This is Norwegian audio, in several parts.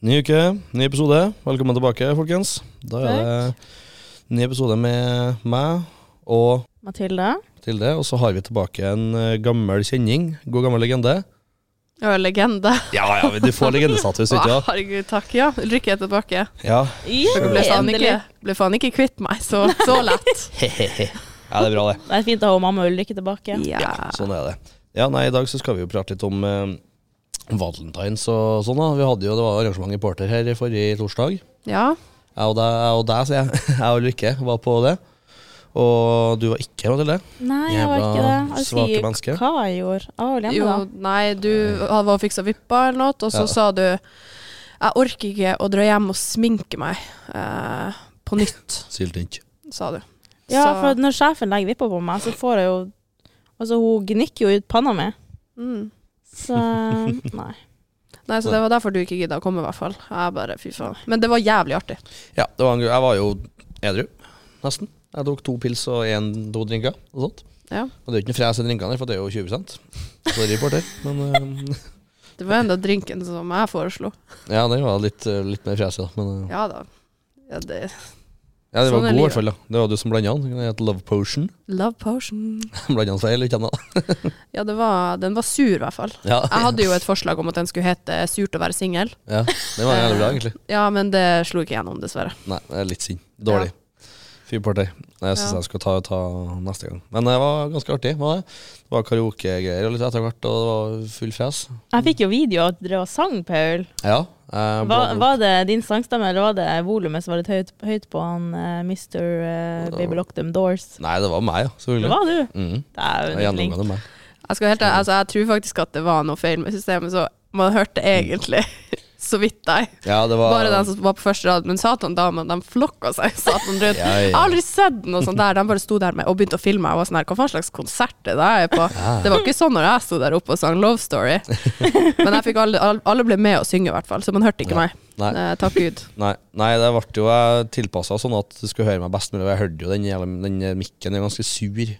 Ny uke, ny episode. Velkommen tilbake, folkens. Da er det ny episode med meg og Mathilde. Tilde. Og så har vi tilbake en eh, gammel kjenning. God gammel legende. Og legende. Ja, ja, du får legendestatus, ikke Å, sant? herregud, takk. Ja, Ulrikke er tilbake. Ja. Jeg ble faen ikke, Endelig. ble faen ikke kvitt meg så, så lett. ja, det er bra, det. Det er fint å ha mamma og Ulrikke tilbake. Ja. Sånn er det. Ja, nei, I dag så skal vi jo prate litt om eh, valentines og sånn. da. Vi hadde jo, Det var arrangement i Porter her i forrige torsdag. ja. Jeg og deg, jeg og deg, sier jeg. Jeg og Lykke var på det. Og du var ikke, Mathilde. Nei, jeg var Jævla ikke det. Jeg svake sier menneske. hva jeg gjorde. Jeg var alene, Jo, da. nei, du var og fiksa vippa eller noe, og så Ja. sa du Jeg orker ikke å dra hjem og sminke meg eh, på nytt, Syltynt. sa du. Ja, Så- for når sjefen legger vippa på meg, så får jeg jo Altså, hun gnikker jo ut panna mi. mm. Så nei. Nei, så det var derfor du ikke gidda å komme, i hvert fall. Jeg bare, fy faen. Men det var jævlig artig. Ja, det var en, gru- jeg var jo edru, nesten. Jeg tok to pils og en, to drinker og sånt. Ja. Og det er jo ikke noe fres i drinkene, her, for det er jo 20 Sorry, porter. Men eh, Det var enda drinken som jeg foreslo. ja, den var litt, eh, litt mer fresig, da. Men eh, Ja da. Ja, det ja, den sånn var er god, i livet. hvert fall. da. Det var du som blanda den. Den het Love Potion. Love potion. blanda den feil, ikke sant? Ja, det var, den var sur, i hvert fall. Ja. Jeg hadde jo et forslag om at den skulle hete 'Surt å være singel'. ja, den var jævlig bra, egentlig. Ja, men det slo ikke gjennom, dessverre. Nei, det er litt sint. Dårlig. Fy porter. Jeg syns Ja. jeg skal ta, ta neste gang. Men eh, det var ganske artig. Var det. det var karaokegreier og litt etter hvert, og det var full fres. Eh, Jeg fikk jo video at dere var sang, Paul. Ja. jeg Var, bladde opp. var det din sangstemme, eller var det volumet som var litt høyt, høyt på han eh, Mr. eh, Baby Lock Them Doors? Nei, det var meg, ja. Det Selvfølgelig. var du. Mm. Jeg Dæven flink. gjennomgående meg. Jeg, skal helt, altså, jeg tror faktisk at det var noe feil med systemet, så man hørte egentlig så vidt deg. Ja, det var Bare den som var på første rad. Men satan, damene, de flokka seg. Satan rundt. Ja, ja. Jeg har aldri sett noe sånt der. De bare sto der med, og begynte å filme. Jeg var sånn her, hva faen slags konsert er det jeg er på? Det var ikke sånn når jeg sto der oppe og sang Love Story. Men jeg fikk alle, alle- alle ble med og synge, i hvert fall, så man hørte ikke meg. Nei. Eh, takk Gud. Nei, nei, det ble jo jeg tilpassa sånn at du skulle høre meg best mulig. og Jeg hørte jo den, jævla- den mikken er ganske sur.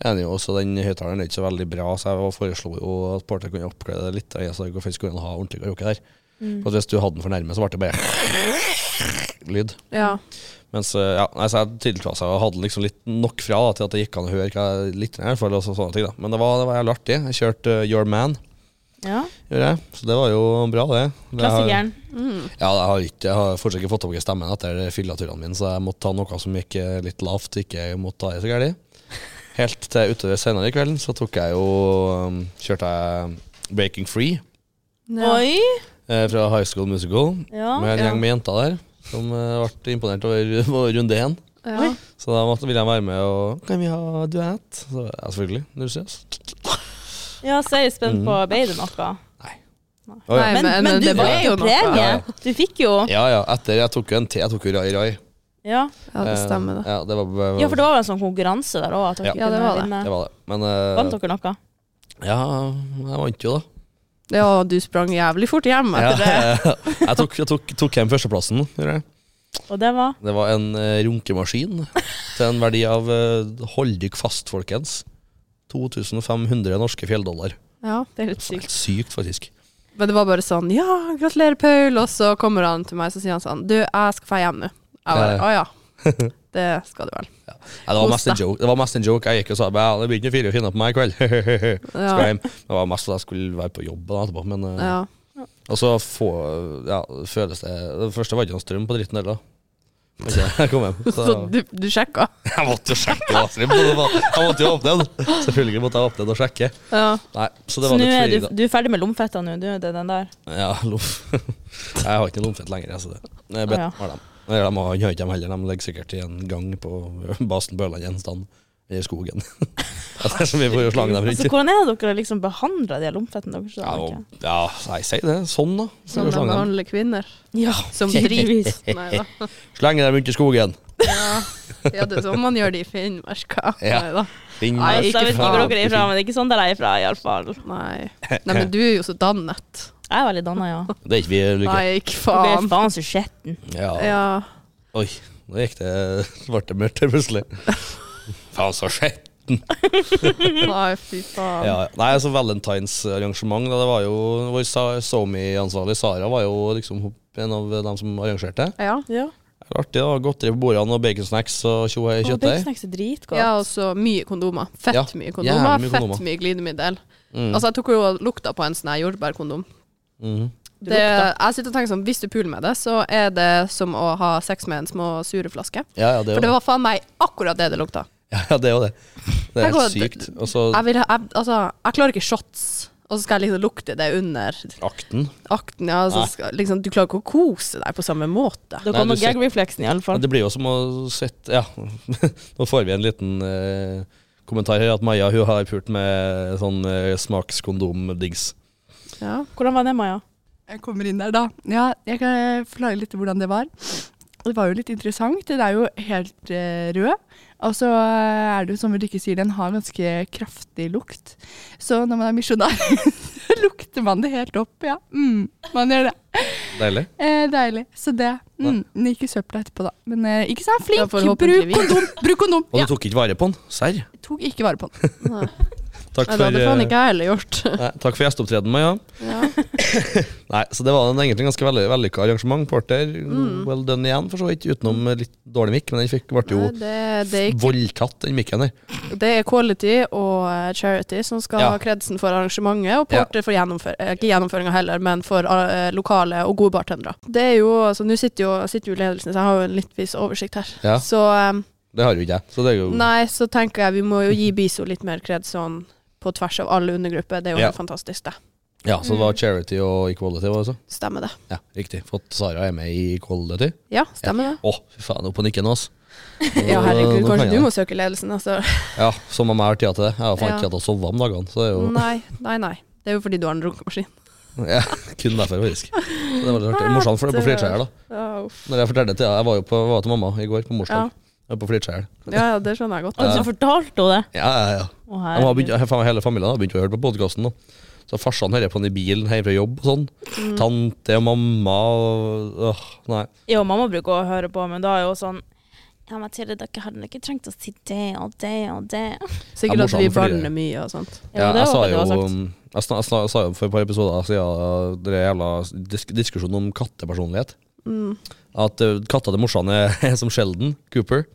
Enig jo, så den høyttaleren er ikke så veldig bra, så jeg foreslo jo at Porter kunne oppglede det litt. og Jeg sa ikke hvorfor skulle han ha ordentlig karaoke der. Mm. For at Hvis du hadde den for nærme, så ble det bare lyd. Ja. Mens eh, ja, nei, så jeg tilpassa og hadde liksom litt nok fra da, til at det gikk an å høre hva jeg likte. i hvert fall, og så- sånne ting da. Men det var, det var jævlig artig. Jeg kjørte eh, Your Man, Ja, gjorde jeg. så det var jo bra, det. Det har- klassikeren. Mm. ja, jeg har, ikke, jeg har fortsatt ikke fått tilbake stemmen etter fyllaturene mine, så jeg måtte ta noe som gikk eh, litt lavt, ikke måtte ta i så gærent. Helt til utover senere i kvelden så tok jeg jo um, Kjørte jeg Breaking Free Oi. Oi! eh, fra High School Musical Ja. med en ja. gjeng med jenter der som eh, ble imponert over over runde én. Ja. Så da måtte, ville jeg være med og Kan vi ha duett? Så ja, selvfølgelig. Når du ses. ja, seriøst spent Mm. på ble det noe? Å, ja. Nei, Men, men men du det var var jo jo noe. premie! Ja, Du fikk jo ja ja, etter jeg tok jo en te, jeg tok jo Rai Rai. Ja, ja, det stemmer Eh, det. Ja, det var, ja for det var vel en sånn konkurranse der òg? Ja. Ja, det var det. det var det. Men eh, Vant dere noe? ja, jeg vant jo, da. Ja, du sprang jævlig fort hjem etter det. Ja, jeg tok, jeg tok, tok hjem førsteplassen. gjorde jeg. Og det var Det var en eh, runkemaskin til en verdi av eh, Hold dykk fast, folkens. 2500 norske fjelldollar. Ja. Det er litt sykt. Helt sykt, faktisk. Men det var bare sånn Ja, gratulerer, Paul. Og så kommer han til meg, så sier han sånn Du, jeg skal dra hjem nå. Jeg bare Ja, Å ja. Det skal du vel. Nei, det, var Kos mest en deg. joke. det var mest en joke. Jeg gikk og sa ja, det blir ikke fire finner på meg i kveld. Ja. Skal hjem. Det var mest at jeg skulle være på jobb da etterpå. Men, eh, Ja. Og så få, ja, føles det Det første var ikke noe strøm på dritten heller. da. Men ikke- Jeg kom hjem. Så Så du, du sjekka? jeg måtte jo sjekke. hva strøm det var. Jeg måtte jo åpne den. Selvfølgelig måtte jeg åpne den og sjekke. Ja. Nei, så Så det var nå litt er fri, du, da. du er ferdig med lomfetta nå, du er det den der. Ja, lomf. Jeg har ikke lomfett lenger, jeg, så det. Jeg bet, Å, ja. har dem. Eller de har ikke dem heller, de ligger sikkert i en gang på basen på Ørland en stand. I skogen. Så vi får jo slange dem rundt. Altså, hvordan er det dere liksom behandler de lomfettene deres? Ja, da, og- ja, nei, si det. Sånn, da. Så Sånn vi de slange dem. behandler kvinner ja. som driver tydeligvis. Nei da. Slenge dem rundt i skogen. Ja. ja, det er sånn man gjør det i Finnmark. Ja. Nei da. Din- Nei, Altså, ikke jeg vet ikke faen. hvor dere er fra, men det er ikke sånn der jeg er fra, iallfall. Nei. Nei, men du er jo så dannet. Jeg er veldig danna, ja. Det er ikke vi lykke. Nei, ikke Du blir faen. faen så skjetten. Ja. Ja. Oi, nå gikk det ble det mørkt her plutselig. Faen, så skjett. slutten. Nei, fy faen. Ja, ja. Nei, altså Valentine's-arrangement da, Det var jo vår Sa- SoMe-ansvarlig Sara var jo liksom en av dem som arrangerte. Ja. Ja. Det var artig. da, Godteri på bordene og baconsnacks og tjohei Og kjøttdeig. Bakesnacks er dritgodt. ja, og så mye kondomer. Fett Ja, mye jævlig kondomer, mye kondomer. fett mye glidemiddel. Mm. Altså, jeg tok jo og lukta på en sånn her jordbærkondom. Mhm. Du Det, lukter. jeg sitter og tenker sånn, hvis du puler med det, så er det som å ha sex med en små sureflaske. Ja, ja, det er For det jo det. var faen meg akkurat det det lukta. Ja, ja, det, er jo det. det er Jeg helt går- sykt. Og så Jeg, vil, ha- jeg, altså, jeg klarer ikke shots, og så skal jeg liksom lukte det under akten. akten. Ja, og så Nei. skal, liksom, du klarer ikke å kose deg på samme måte. Da Nei, kommer du ser- gag-refleksen, Ja, iallfall. Det blir jo som å sette Ja, nå får vi en liten eh, kommentar her at Maja hun har pult med sånn eh, smakskondomdings. Ja. Hvordan var det, Maja? Jeg kommer inn der, da. Ja, jeg kan forklare litt hvordan det var. Det var jo litt interessant. Den er jo helt eh, rød. Og så eh, er det jo som Rikke sier, den har ganske kraftig lukt. Så når man er misjonær, så lukter man det helt opp, ja. Mm, man gjør det. Deilig. Eh, deilig. Så det. Mm, den gikk i søpla etterpå, da. Men eh, ikke Ja, sant, flink! bruk forhåpentligvis. kondom! Bruk kondom! Og Ja, du tok ikke vare på den? Serr? tok ikke vare på den. Nei, Takk for Nei, det hadde faen eh, ikke jeg heller gjort. Nei, takk for gjesteopptredenen, Maja. Ja. Nei, så det var en egentlig ganske veldig- vellykka arrangement. Porter, Mm. well done igjen, for så vidt. Utenom eh, litt dårlig mikk, men den fikk, ble jo Nei, det, det, gikk, voldtatt, den mikken der. det er quality og eh, charity som skal Ja. ha kredsen for arrangementet, og Porter for gjennomfør, eh, ikke gjennomføringa heller, men for eh, lokale og gode bartendere. Det er jo, altså, Nå sitter jo, sitter jo ledelsen, så jeg har jo en litt vis oversikt her. Ja. Så eh, Det har jo ikke jeg. Så det er jo nei, så tenker jeg vi må jo gi Biso litt mer kred sånn på tvers av alle undergrupper. Det er jo Ja. helt fantastisk, det. Ja, så Mm. det var charity og equality, var det så? Stemmer det. Ja, riktig. For at Sara er med i equality. Ja, stemmer Å, fy faen, opp på nikken nå, altså. det. Ja, herregud, kanskje du må søke ledelsen, altså. Ja, som om jeg har tid til det. Jeg har faen Ja. ikke hatt å sove om dagene. Så det er jo Nei, nei, nei. Det er jo fordi du har en runkemaskin. ja, kun derfor, faktisk. Så det var litt artig. Morsomt for det på Flitskjær, da. Ja, uff. Når jeg forteller det til deg, jeg var jo på, var til mamma i går på Ja. morsdag. Jeg var På Flitskjær. ja, ja, det skjønner jeg godt. Og så Altså, fortalte hun det. Ja, ja, ja. Å, De har herregud. begynt, faen, hele familien har begynt å høre på podkasten nå. Så farsan hører på den i bilen hjemme fra jobb og sånn. Mm. Tante og mamma og åh, Nei. Jo, mamma bruker å høre på, men da er jo sånn Ja, Mathilde, dere hadde ikke trengt å si det og det og det. Ja, Sikkert at morsomt vi fordi det- banner mye og sånt. Ja, Ja, det jeg sa håper jeg jo um, du har sagt. jeg, sna, jeg, sna, sa jo for et par episoder siden det jævla disk, diskusjonen om kattepersonlighet. Mm. At eh, katta til morsan er, er som Sheldon Cooper.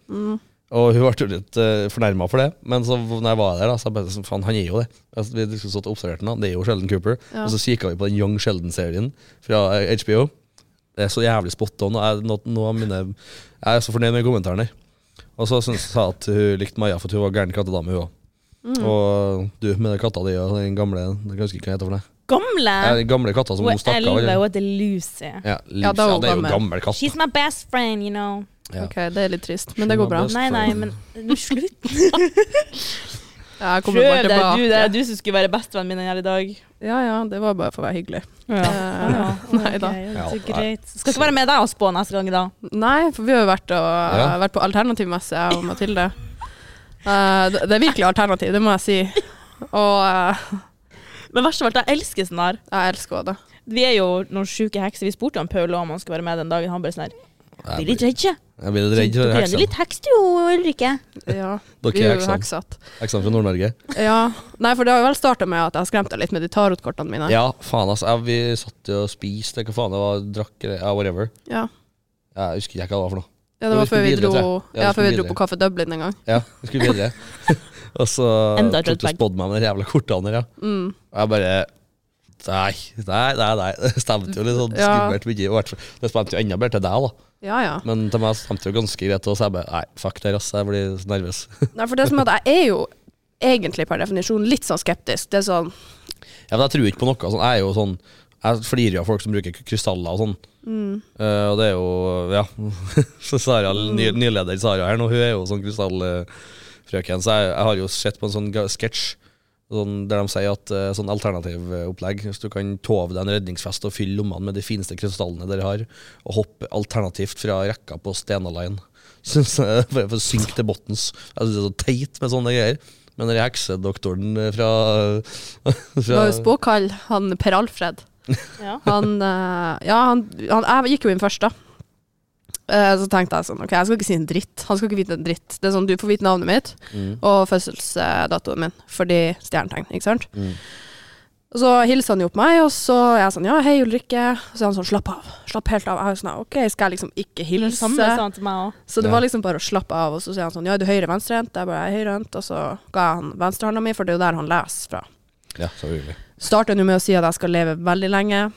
Og hun ble jo litt uh, fornærma for det, men så når jeg var der, da, så jeg bare sånn, faen, han er jo det. Altså, vi liksom satt og observerte den, da. det er jo Sheldon Cooper. Ja. Og så kikka vi på den Young Sheldon-serien fra eh, HBO. Det er så jævlig spot on. og jeg- Nå, nå er mine, jeg er så fornøyd med kommentarene. Og så syns jeg at hun likte Maja for at hun var gæren kattedame, hun òg. Mm. Og du med den katta di og den gamle Jeg husker ikke hva den heter for deg. Gamle! Ja, den gamle katta som Hun hun er stakk av. elleve, eller? hun heter Lucy. Ja, Lucy, Ja, ja, da er hun det er jo gammel. gammel katt. She's my best friend, you know. Ja. Ok, det er litt trist, men det går bra. Best Nei, nei, friend. men du, slutt. Ja, Jeg Prøv kommer bare deg, du. Det tilbake. er du som skulle være bestevennen min her i dag. Ja ja, det var bare for å være hyggelig. Ja, ja. Nei da. Ok, Ja, så nei. greit. Skal ikke være med deg og spå neste gang, da. Nei, for vi har jo vært, og, Ja. vært på alternativmesse, jeg og Mathilde. Eh, det, det er virkelig alternativ, det må jeg si. Og eh, Men verst av alt, jeg elsker sånn her. jeg elsker henne. Vi er jo noen sjuke hekser. Vi spurte jo han Paul om han skulle være med den dagen. Han bare sånn her Jeg Blir blir- litt redd, ikke? Jeg blir litt redd Du for er jo heksene. litt heks, du, Ulrikke. Ja, Dere vi er er jo heksene. heksatt. Heksene fra Nord-Norge. Ja. Nei, for det har jo vel starta med at jeg skremte deg litt med de tarotkortene mine. Ja, faen, altså. Jeg, vi satt jo og spiste, hva faen det var, drakk eller ja, whatever. Ja. Jeg husker ikke hva det var for noe. Ja, det var før vi videre, dro, tror jeg. Ja, ja, vi før vi skulle dro på Kaffe Dublin en gang. Ja, vi skulle videre. og så Enda et tok rødt du flagg. spådd meg med de jævla kortene der, ja. Mm. Og jeg bare Nei, nei, nei. nei. Det stemte jo litt sånn Ja. skummelt mye. i hvert fall. Det stemte jo enda bedre til deg, da. Ja, ja. Men til meg stemte jo ganske greit, og så jeg bare Nei, fuck det, ass. Jeg blir så nervøs. Nei, for det er som at jeg er jo egentlig per definisjon litt sånn skeptisk. Det er sånn Ja, men jeg tror ikke på noe sånn. Jeg er jo sånn Jeg flirer jo av folk som bruker k- krystaller og sånn. Eh, og det er jo Ja. så Sara, ny, Mm. nyleder Sara her nå, hun er jo sånn krystallfrøken. Så jeg, jeg har jo sett på en sånn ga- sketsj sånn, der de sier at eh, sånn alternativ eh, opplegg Hvis du kan tove deg en redningsfest og fylle lommene med de fineste krystallene dere har, og hoppe alternativt fra rekka på Stena Line Synes jeg, Bare for å synke til buttons. Jeg synes det er så teit med sånne greier. Men den heksedoktoren eh, fra, Det fra var jo spåkall, han Per Alfred. Ja. Han eh, Ja, han, han Jeg gikk jo inn først, da. Eh, så tenkte jeg sånn, ok, jeg skal ikke si en dritt. Han skal ikke vite en dritt. Det er sånn, du får vite navnet mitt Mm. og fødselsdatoen min, fordi stjernetegn, ikke sant? Mm. Og så hilser han jo på meg, og så er jeg sånn, ja, hei Ulrikke. Og så er han sånn, slapp av, slapp helt av. Jeg er sånn, ok, skal jeg liksom ikke Det hilse? samme sånn. sa han til meg òg. Så det Ja. var liksom bare å slappe av, og så sier han sånn, ja, er du høyre-venstrehendt? Jeg bare, jeg er høyrehendt, og så ga jeg han venstrehånda mi, for det er jo der han leser fra. Ja, selvfølgelig. Starter han jo med å si at jeg skal leve veldig lenge.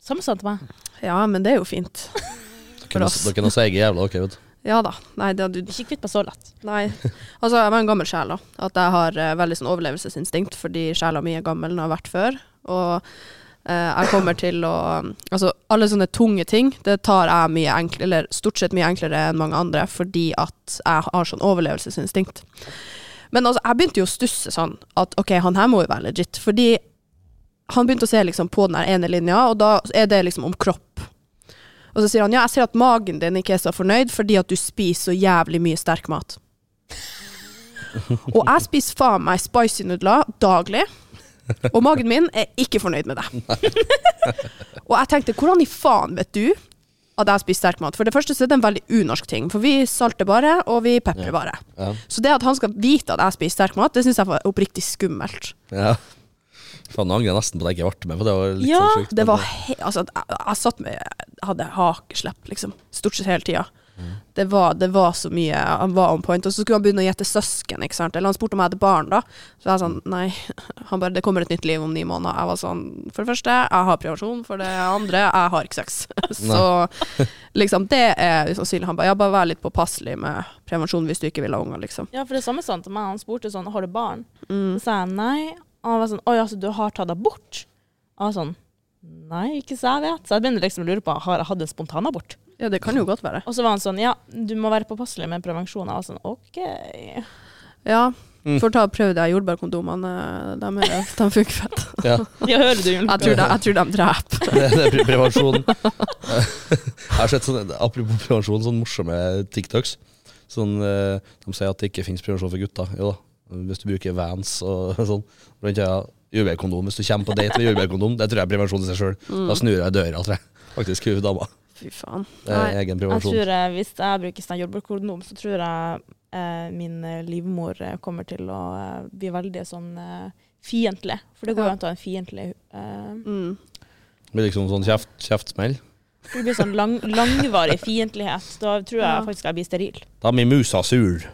Samme sa han til meg. Ja, men det er jo fint. Dere er noe- oss. dere er noen seige jævla, dere, vet du. Ja da. Nei, det, du, Ikke kvitt meg så lett. nei. Altså, jeg var en gammel sjel, da. At jeg har eh, veldig sånn overlevelsesinstinkt, fordi sjela mi er gammel enn jeg har vært før. Og eh, jeg kommer til å Altså, alle sånne tunge ting, det tar jeg mye enklere, eller stort sett mye enklere enn mange andre, fordi at jeg har sånn overlevelsesinstinkt. Men altså, jeg begynte jo å stusse sånn at OK, han her må jo være legit. Fordi han begynte å se liksom på den her ene linja, og da er det liksom om kropp. Og så sier han ja, jeg ser at magen din ikke er så fornøyd fordi at du spiser så jævlig mye sterk mat. Og jeg spiser faen meg spicy nudler daglig, og magen min er ikke fornøyd med det. Og jeg tenkte, hvordan i faen vet du at jeg spiser sterk mat? For det første så er det en veldig unorsk ting, for vi salter bare, og vi peprer bare. Ja. Så det at han skal vite at jeg spiser sterk mat, det syns jeg var oppriktig skummelt. ja. Faen, nå angrer jeg nesten på at jeg ikke ble med, for det var litt Ja, sånn sjukt. Det var he altså, at jeg, jeg satt med jeg hadde hakeslepp liksom, stort sett hele tida. Mm. Det, var, det var så mye Han var on point. Og så skulle han begynne å gjette søsken. Ikke sant? Eller han spurte om jeg hadde barn, da. Så jeg sånn Nei. Han bare Det kommer et nytt liv om ni måneder. Jeg var sånn For det første, jeg har prevensjon. For det andre, jeg har ikke sex. Så liksom, det er sannsynlig. Han bare Ja, bare vær litt påpasselig med prevensjon hvis du ikke vil ha unger, liksom. Ja, for det samme sa han til meg. Han spurte sånn, har du barn? Så sa jeg nei. Og han var sånn, oi, altså du har tatt abort? Og jeg var sånn, nei, ikke så jeg vet. Så jeg begynte liksom å lure på, har jeg hatt en spontanabort? Ja, det kan jo godt være. Og så var han sånn, ja, du må være påpasselig med prevensjon. Jeg var sånn, ok. Ja. Mm. For da prøvde jeg jordbærkondomene. De, er- de funker fett. Ja, Ja, hører du, Julie? Jeg tror de, jeg tror de dreper. det, det er pre prevensjon. Jeg har sett sånne, apropos prevensjon, sånne morsomme TikToks. Sånn, eh, de sier at det ikke finnes prevensjon for gutter. Jo da, hvis du bruker Vans og sånn. Blant annet jordbærkondom. Hvis du kommer på date med jordbærkondom, det tror jeg er prevensjon i seg sjøl. Da snur jeg døra, tror jeg. Faktisk, hun dama. Fy faen. Det er Nei. egen Jeg prevensjon. tror eh, hvis jeg bruker sånn jordbærkondom, så tror jeg eh, min eh, livmor eh, kommer til å eh, bli veldig sånn eh, fientlig. For det går jo Ja. an til å ha en fientlig eh, Mm. Det blir liksom sånn kjeft, kjeftsmell. Det blir sånn lang, langvarig fiendtlighet. Da tror jeg Ja. faktisk jeg blir steril. Da blir musa sur.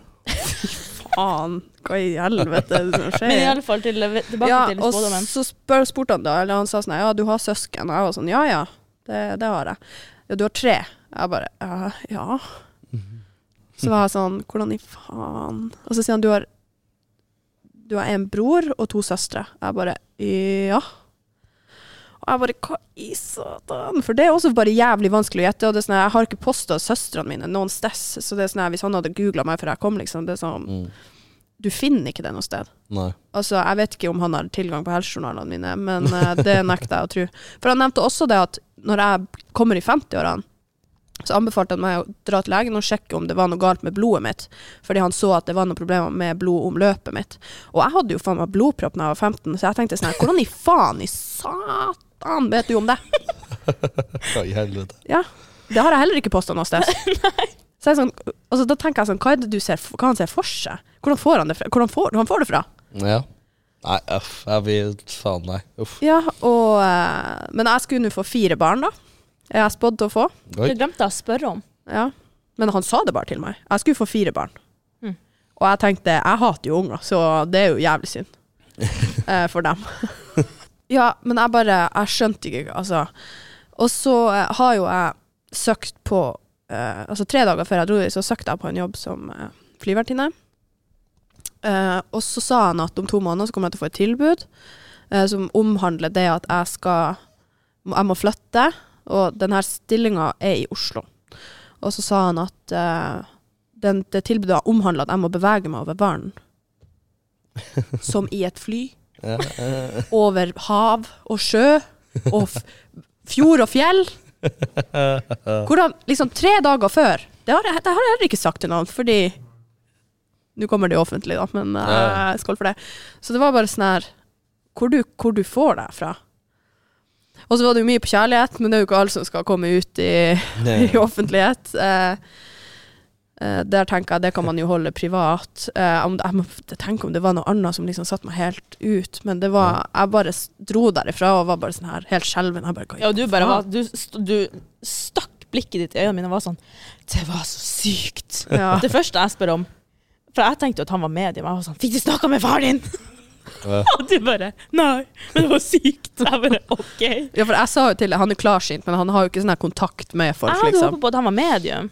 Faen, hva i helvete er det som skjer? Men i alle fall til, eh, tilbake ja, til og spådommen. så spør, spurte han da, eller han sa sånn Ja, du har søsken? Og jeg var sånn Ja ja, det, det har jeg. Ja, du har tre? Jeg bare «Ja, Ja. Så var jeg sånn Hvordan i faen Og så sier han du har Du har en bror og to søstre. Jeg bare Ja. Og jeg bare Hva i satan? For det er også bare jævlig vanskelig å gjette. Og det er sånn, jeg har ikke posta søstrene mine noen sted. Så det er sånn, hvis han hadde googla meg før jeg kom, liksom det er sånn, Mm. Du finner ikke det noe sted. Nei. Altså, Jeg vet ikke om han har tilgang på helsejournalene mine, men eh, det nekter jeg å tro. For han nevnte også det at når jeg kommer i 50-årene, så anbefalte han meg å dra til legen og sjekke om det var noe galt med blodet mitt. Fordi han så at det var noen problemer med blodomløpet mitt. Og jeg hadde jo faen meg blodpropp da jeg var 15, så jeg tenkte sånn her, Hvordan i faen i satan vet du om det? Hva i helvete. Ja, Det har jeg heller ikke posta noe sted. Så jeg er sånn, altså, da tenker jeg sånn, hva er det du ser, f- hva han ser for seg? Hvordan får han det fra? Hvordan får, han får det fra? Ja. Nei, uff. Jeg blir Faen, nei. Uff. Ja, og, eh, men jeg skulle nå få fire barn, da. Jeg er spådd til å få. Oi. Det glemte jeg å spørre om. Ja. Men han sa det bare til meg. Jeg skulle få fire barn. Mm. Og jeg tenkte, jeg hater jo unger, så det er jo jævlig synd eh, for dem. ja, men jeg bare, jeg skjønte ikke, altså. Og så eh, har jo jeg søkt på, eh, altså tre dager før jeg dro, så søkte jeg på en jobb som eh, flyvertinne. Eh, og så sa han at om to måneder så kommer jeg til å få et tilbud eh, som omhandler det at jeg skal, jeg må flytte, og denne stillingen er i Oslo. Og så sa han at eh, den, det tilbudet omhandla at jeg må bevege meg over vann. Som i et fly. Ja, eh, Over hav og sjø og f fjord og fjell. Hvordan, liksom tre dager før Det har jeg, det har jeg heller ikke sagt til noen, fordi Nå kommer det jo offentlig, da, men eh, skål for det. Så det var bare sånn her Hvor du, hvor du får det fra? Og så var det jo mye på kjærlighet, men det er jo ikke alle som skal komme ut i, i offentlighet. Eh, eh, der tenker jeg det kan man jo holde privat. Eh, om, jeg må f- tenke om det var noe annet som liksom satte meg helt ut, men det var, jeg bare s- dro derifra og var bare sånn her, helt skjelven. Jeg bare, «Hva i Ja, og du bare var faen?» du, st du stakk blikket ditt i øynene mine og var sånn Det var så sykt. Ja. Det første jeg spør om For jeg tenkte jo at han var med i meg. Jeg var sånn Fikk du snakka med faren din? Ja. Og du bare Nei, men det var sykt. Jeg bare OK. ja, for jeg sa jo til deg, han er klarsynt, men han har jo ikke sånn her kontakt med folk, Jeg hadde liksom. håpet på at han var medium.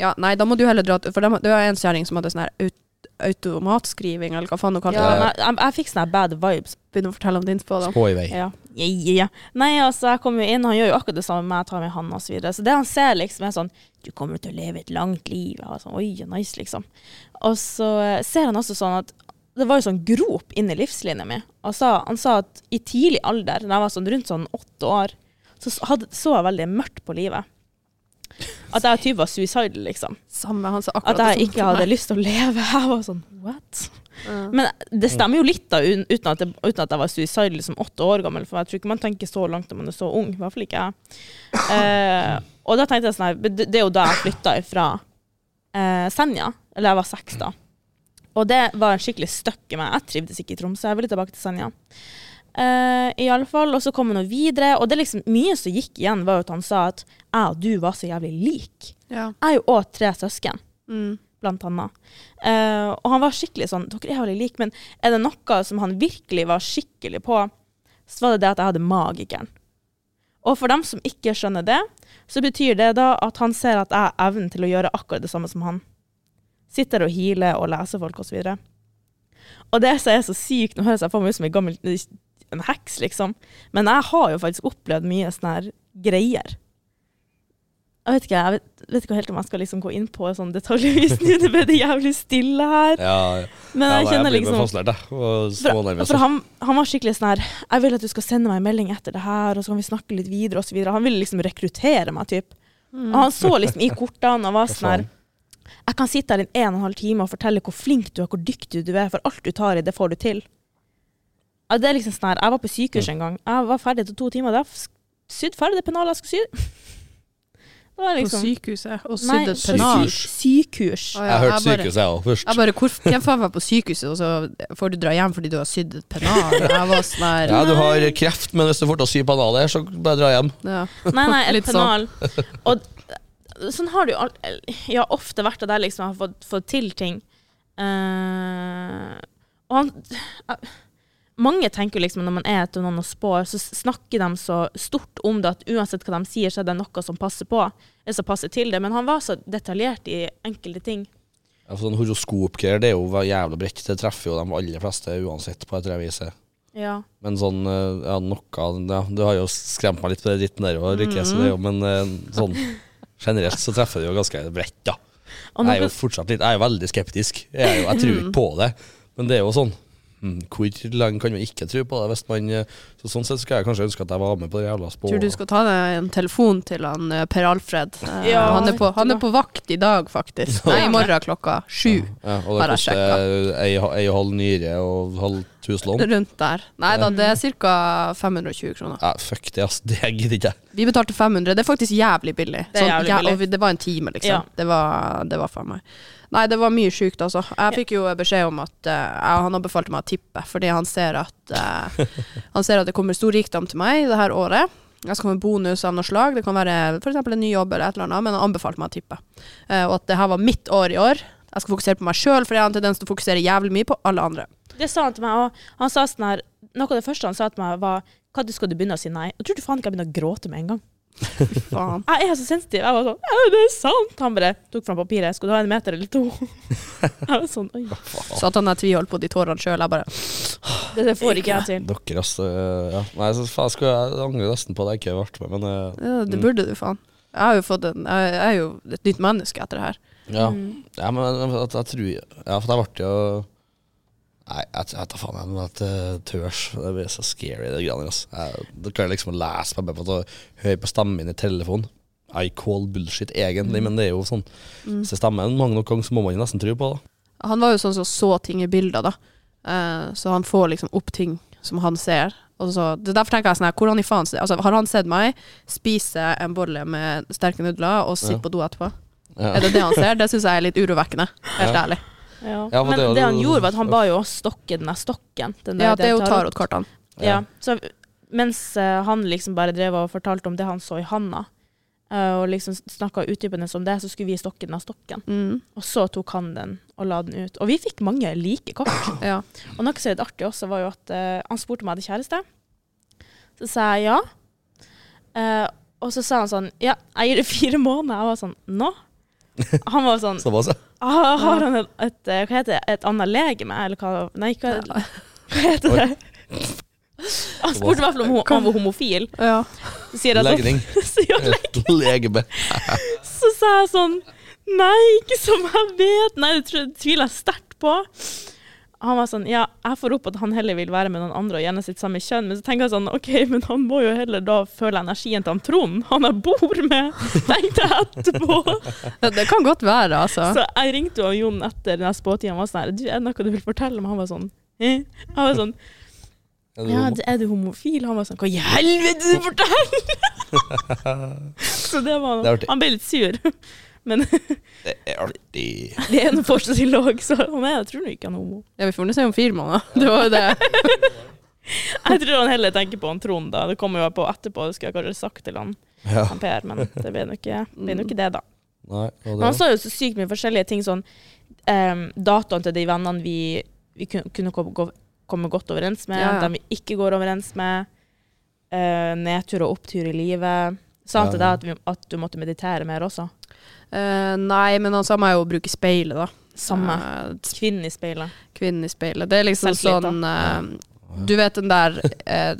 Ja, nei, da må du heller dra til For dem- det var en kjerring som hadde sånn her aut automatskriving, eller hva faen hun kalte Ja, det. men jeg, jeg, jeg fikk sånne bad vibes Begynner å fortelle om din spådom. På i vei. Ja. Ja, ja, ja. Nei, altså, jeg kommer jo inn, han gjør jo akkurat det samme med jeg tar med han og så videre. Så det han ser liksom er sånn, du kommer til å leve et langt liv. Jeg var sånn, oi, nice, liksom. Og så eh, ser han også sånn at det var jo sånn grop inn i livslinja mi. Og sa, han sa at i tidlig alder, da jeg var sånn rundt sånn åtte år, så s- hadde, så jeg veldig mørkt på livet. At jeg typ var suicidal, liksom. Samme, han sa akkurat At det jeg samme ikke som hadde meg. lyst til å leve. Jeg var sånn, what? sånn Ja. Men det stemmer jo litt, da, un- uten at, det, uten at jeg var suicidal som åtte år gammel. For jeg tror ikke man tenker så langt når man er så ung. I hvert fall ikke jeg. Eh, og da tenkte jeg sånn her men Det det er jo da jeg flytta fra eh, Senja. Eller jeg var seks, da. Og det var en skikkelig støkk i meg. Jeg trivdes ikke i Tromsø. Jeg ville tilbake til Senja. Uh, i alle fall, Og så kom han jo videre. Og det er liksom mye som gikk igjen, var jo at han sa at jeg og du var så jævlig lik. Ja. Jeg er jo òg tre søsken Mm. blant annet. Eh, og han var skikkelig sånn Dere er jo veldig like, men er det noe som han virkelig var skikkelig på, så var det det at jeg hadde magikeren. Og for dem som ikke skjønner det, så betyr det da at han ser at jeg har evnen til å gjøre akkurat det samme som han. Sitter og healer og leser folk osv. Og, og det som er så sykt Nå høres jeg for meg ut som en gammel en heks, liksom. Men jeg har jo faktisk opplevd mye sånne her greier. Jeg vet ikke, jeg vet, vet ikke helt om jeg skal liksom gå inn på sånn detaljvis nå. Det ble det jævlig stille her. Ja, ja. Ja, Men jeg nei, jeg blir kjenner bare liksom fastlert, jeg. Og så for, nærmest. for han, han var skikkelig sånn her Jeg vil at du skal sende meg en melding etter det her, og så kan vi snakke litt videre, og så videre. Han ville liksom rekruttere meg, typ. Mm. Og han så liksom i kortene og var sånn her Jeg kan sitte her i en og en halv time og fortelle hvor flink du er, hvor dyktig du er, for alt du tar i, det får du til. Ja, det er liksom sånn her Jeg var på sykehus en gang. Jeg var ferdig til to timer. Da f- sydde ferdig det pennalet jeg skulle sy. Det var På liksom sykehuset og Nei, sydd et syk- pennal. sykehus. Sykehus. Å ja, Jeg hørte bare- sykehuset, jeg òg, først. Jeg bare, hvor, hvem faen var på sykehuset, og så får du dra hjem fordi du har sydd et pennal? Jeg var sånn her Ja, du har kreft, men hvis du får til å sy banal her, så bare dra hjem. ja. Nei, nei, et Litt sånn. pennal. Og sånn har det jo al- ja, ofte vært at jeg liksom har fått, fått til ting. Eh, og han eh, Mange tenker jo liksom når man er etter noen og spår, så s- snakker de så stort om det at uansett hva de sier, så er det noe som passer på. Eller som passer til det. Men han var så detaljert i enkelte ting. Ja, for sånn Horoskopgreier det er jo jævla bredt. Det treffer jo de aller fleste uansett, på et eller annet vis. Ja. Men sånn, eh, ja, noe ja, Du har jo skremt meg litt på den dritten der, og ikke, så det er jo, men eh, sånn generelt så treffer det jo ganske bredt, da. Og Jeg er noe, jo fortsatt litt Jeg er jo veldig skeptisk. Jeg, er jo, jeg Mm. tror ikke på det. Men det er jo sånn hmm, Hvor lenge kan man ikke tro på det? Hvis man, eh, så sånn sett skulle jeg kanskje ønske at jeg var med på det jævla spå... Tror du skal ta deg en telefon til han eh, Per Alfred. Eh, Ja, han, er på, han er vet på vakt i dag, faktisk. Nei, i morgen klokka sju. Ja, og det Bare koster ei, ei og halv nyre og halv tusenlån. Rundt der. Nei da, det er ca. 520 kroner. Ja, fuck det, ass. Det gidder ikke jeg. Vi betalte 500. Det er faktisk jævlig billig. Sånn, Det er jævlig ja, billig. og vi- det var en time, liksom. Ja. Det, var, det var faen meg. Nei, det var mye sjukt, altså. Jeg fikk jo beskjed om at eh, ja, Han anbefalte meg å tippe, fordi han ser at eh, Han ser at det kommer stor rikdom til meg det her året. Jeg skal få en bonus av noe slag. Det kan være f.eks. en ny jobb eller et eller annet, men han anbefalte meg å tippe. Eh, og at det her var mitt år i år. Jeg skal fokusere på meg sjøl, for jeg har en tendens til å fokusere jævlig mye på alle andre. det sa han til meg, og han sa sånn her Noe av det første han sa til meg, var Hva du skal du begynne å si nei? Og tror du faen ikke jeg begynner å gråte med en gang? Faen. Ah, jeg er så sensitiv. Jeg var sånn, «Ja, det er sant. Han bare tok fram papiret. Skal du ha en meter eller to? Jeg var sånn, oi. Så at han jeg tviholdt på de tårene sjøl, jeg bare Det, det får ikke jeg til. Dere, ass. det- Ja. Nei, så faen, skulle jeg jeg angrer nesten på at jeg ikke har vært med, men eh, Ja, det burde du, faen. Jeg, har jo fått en, jeg jeg er jo et nytt menneske etter det her. ja. Mm. ja men at jeg tror Ja, for jeg ble jo Nei, jeg jeg vet da faen, jeg, men at eh, tørs Det blir så scary, det greiene der, ass. Jeg- Du klarer liksom å lese meg bare på å høre på stemmen min i telefonen. I call bullshit, Mm. egentlig, men det er jo sånn. Hvis det stemmer mange nok ganger, så må man jo nesten tro på det. Han var jo sånn som så ting i bilder, da. Eh, så han får liksom opp ting som han ser. Og så, det er derfor tenker jeg sånn her, hvordan i faen altså, Har han sett meg spise en bolle med sterke nudler og sitte Ja. på do etterpå? Ja. Er det det han ser? Det syns jeg er litt urovekkende, helt Ja. ærlig. Ja, for Men det det, er han jo- gjorde, var at han ba jo oss stokke den der stokken. Den der Ja, det er jo tarot- tarotkortene. Ja. Ja. Så mens eh, han liksom bare drev og fortalte om det han så i handa, eh, og liksom snakka utdypende om det, så skulle vi stokke den av stokken. Mm, Og så tok han den og la den ut. Og vi fikk mange like kort. ja. Og noe som er litt artig også, var jo at eh, han spurte om jeg hadde kjæreste. Så sa jeg ja. Eh, og så sa han sånn Ja, jeg gir det fire måneder. Jeg var sånn Nå? Han var sånn Snabbas, ja. «Ah, Har han et, et eh, Hva heter det? Et annet legeme? Eller hva Nei, hva, hva heter det? Han spurte i hvert fall om ho- om han var homofil. ja. Så sier jeg at- Legning. Sier han- Legeme. Så sa jeg sånn Nei, ikke som jeg vet. Nei, det tr- tviler jeg sterkt på. Han var sånn Ja, jeg får opp at han heller vil være med noen andre og gjerne sitt samme kjønn, men så tenker jeg sånn OK, men han må jo heller da føle energien til han Trond, han jeg bor med, tenkte jeg etterpå. Det, det kan godt være, altså. Så jeg ringte jo Jon etter den spåtida og var sånn her Du, er det noe du vil fortelle meg? Han var sånn «Eh?» Jeg var sånn Er du Ja, homo? d- er du homofil? Han var sånn Hva i helvete du forteller?! så det var Det er artig. Han ble litt sur. Men Det er artig. det er en forskningslog, så han er, jeg tror nå ikke han er homo. Ja, vi får nå se om fire måneder. Det var jo det. Jeg tror han heller tenker på han Trond, da. Det kommer jo jeg på etterpå, det skulle jeg kanskje sagt til han, Ja. han Per, men det ble nå ikke, ble nå ikke det, da. Nei, og det- Men han sa jo så sykt mye forskjellige ting, sånn um, datoene til de vennene vi, vi kun- kunne komme, gå- komme godt overens med, Ja, ja. dem vi ikke går overens med, eh, nedtur og opptur i livet. Sa han til Ja, deg ja. at, vi, at du måtte meditere mer også? Eh, nei, men han sa meg jo å bruke speilet, da. Samme. Eh, Kvinnen i speilet. kvinnen i speilet. Det er liksom Selvtillit, da. sånn eh, Du vet den der eh,